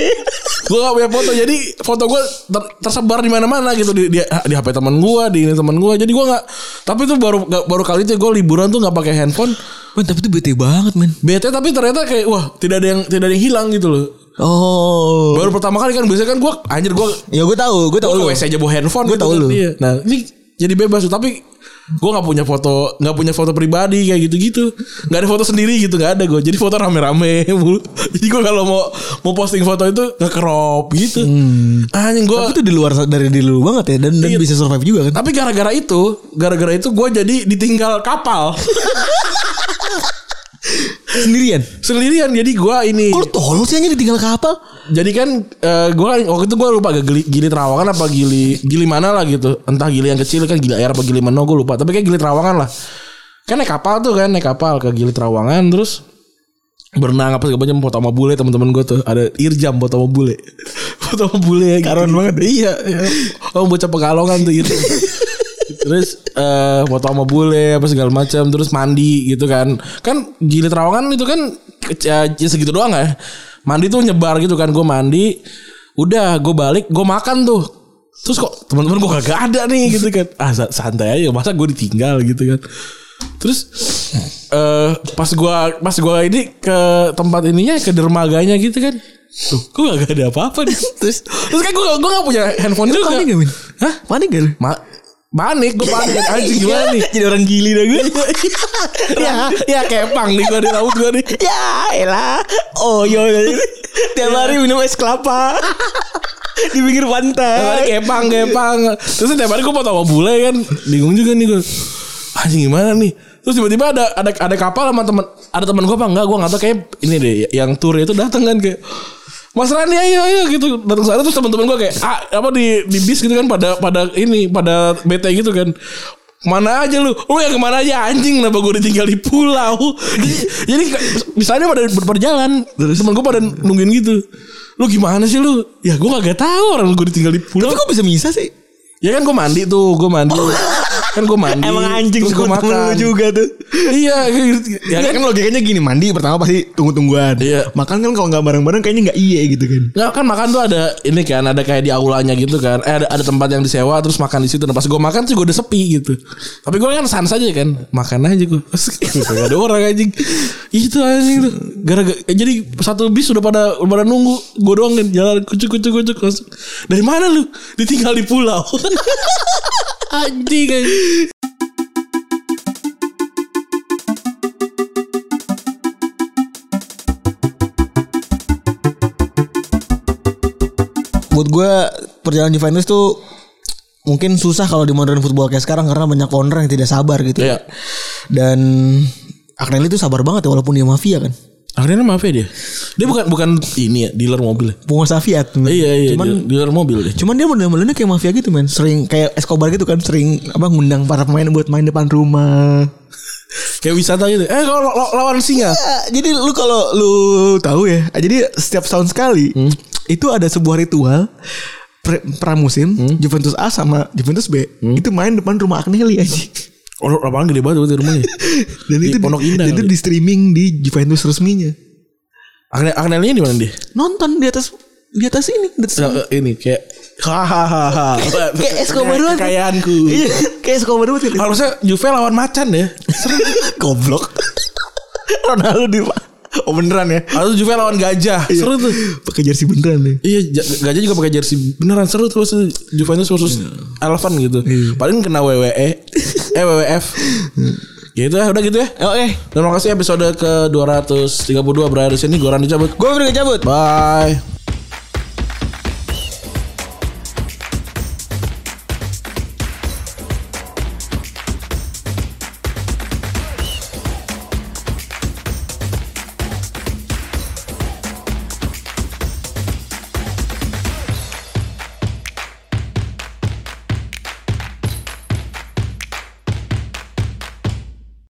Gue gak punya foto. Jadi foto gue ter- tersebar di mana-mana gitu di, di, di HP teman gue, di ini teman gue. Jadi gue nggak. Tapi tuh baru nggak- baru kali itu gue liburan tuh nggak pakai handphone. Man, tapi itu bete banget men Bete tapi ternyata kayak wah tidak ada yang tidak ada yang hilang gitu loh. oh Baru pertama kali kan biasanya kan gue anjir gue ya gue tahu gue tahu gue lu ke WC aja bawa handphone. Gua tahu kan. lu. Iya. Nah ini jadi bebas tuh tapi gue nggak punya foto nggak punya foto pribadi kayak gitu gitu nggak ada foto sendiri gitu nggak ada gue jadi foto rame-rame mulu. jadi gue kalau mau mau posting foto itu nge crop gitu anjing gue Hmm. tapi tapi, itu di luar dari diri lu banget ya dan dan Iya. bisa survive juga kan gara-gara itu gara-gara itu gue jadi ditinggal kapal sendirian sendirian jadi gue ini Kok Oh, lu tolol sih anjir ditinggal kapal jadi kan eh, gue kan waktu itu gue lupa agak gili, gili terawangan apa gili gili mana lah gitu entah gili yang kecil kan gili air apa gili mana gue lupa tapi kayak gili terawangan lah kan naik kapal tuh kan naik kapal ke gili terawangan terus berenang apa segala macam foto sama bule teman-teman gue tuh ada irjam foto sama bule foto sama bule Karuan banget. iya iya. oh bocah pekalongan tuh gitu terus eh foto sama bule apa segala macam terus mandi gitu kan kan gili terawangan itu kan kec- eh, segitu doang ya mandi tuh nyebar gitu kan gue mandi udah gue balik gue makan tuh terus kok teman-teman gue kagak ada nih gitu kan ah sa- santai aja masa gue ditinggal gitu kan terus eh pas gua pas gua ini ke tempat ininya ke dermaganya gitu kan tuh gua gak ada apa-apa nih terus terus kan gua gua gak punya handphone juga panik gak min hah panik gak lu Iya. Ma panik gue panik anjing gimana nih jadi orang gili dah gue Iya. ya ya kepang nih gua di laut gua nih ya elah oh yo tiap hari minum es kelapa di pinggir Tiap hari pantai kepang kepang terus tiap hari gue foto sama bule kan bingung juga nih gue anjing gimana nih terus tiba-tiba ada ada ada kapal sama teman ada teman gue apa enggak gue nggak tahu kayak ini deh yang tour itu datang kan kayak Mas Rani ayo ayo gitu datang sana terus teman-teman gue kayak ah, apa di di bis gitu kan pada pada ini pada BT gitu kan Mana aja lu Lu yang kemana aja anjing Kenapa gue ditinggal di pulau Jadi, jadi misalnya pada ber- berjalan Temen gue pada nungguin gitu Lu gimana sih lu Ya gue kagak tahu orang gue ditinggal di pulau tapi kok bisa bisa sih Ya kan gue mandi tuh, gue mandi. kan gue mandi. Emang anjing terus sih gue makan. juga tuh. Iya, ya Ya kan kan logikanya gini mandi pertama pasti tunggu-tungguan. Iya. Makan kan kalau nggak bareng-bareng kayaknya nggak iya gitu kan. Nggak kan makan tuh ada ini kan ada kayak di aulanya gitu kan. Eh ada, ada tempat yang disewa terus makan di situ. Nah, pas gue makan sih gue udah sepi gitu. Tapi gue kan sans aja kan. Makan aja gue. Gak ada orang anjing. Itu anjing tuh. Gara-gara jadi satu bis udah pada udah pada nunggu. Gue doang kan jalan kucuk kucuk kucuk langsung. Dari mana lu? Ditinggal di pulau. anjing anjing. Buat gue perjalanan Juventus tuh mungkin susah kalau di modern football kayak sekarang karena banyak owner yang tidak sabar gitu. Iya. Dan Agnelli tuh sabar banget ya walaupun dia mafia kan. Akhirnya maaf ya dia. Dia bukan bukan ini ya, dealer mobil. ya. pengusaha Fiat. bener. Iya iya, Cuman dealer, dealer mobil deh. Cuman dia model-modelnya kayak mafia gitu men Sering kayak Escobar gitu kan Sering apa ngundang para pemain buat main depan rumah Kayak wisata gitu. Eh kalau lo- lo- lawan singa. Ya, Jadi lu kalau lu tahu ya Jadi setiap tahun sekali Hmm. Itu ada sebuah ritual pre- Pramusim Hmm. Juventus A sama Juventus B Itu main depan rumah Agnelli aja Oh, lapangan gede banget berarti rumahnya. Dan Di itu Pondok Dan Indah itu kali. ya? di streaming di Juventus resminya Agnel Agnelnya di mana dia? Nonton di atas Di atas ini di atas- Nah, ini kayak hahaha. Kayak Escobar banget. Kekayaanku. Iya Kayak Escobar banget gitu. Harusnya Juve lawan macan ya. Goblok Ronaldo di Oh beneran ya Iya. Atau Juve lawan gajah. Seru tuh. Pakai jersey beneran nih Iya, ja- gajah juga pakai jersey beneran seru terus tuh. Juventus versus Elvan gitu. Paling kena WWE, eh WWF. gitu ya, udah gitu ya. Oke Terima kasih episode ke 232 berakhir di sini. Goran dicabut. Gue udah cabut Bye.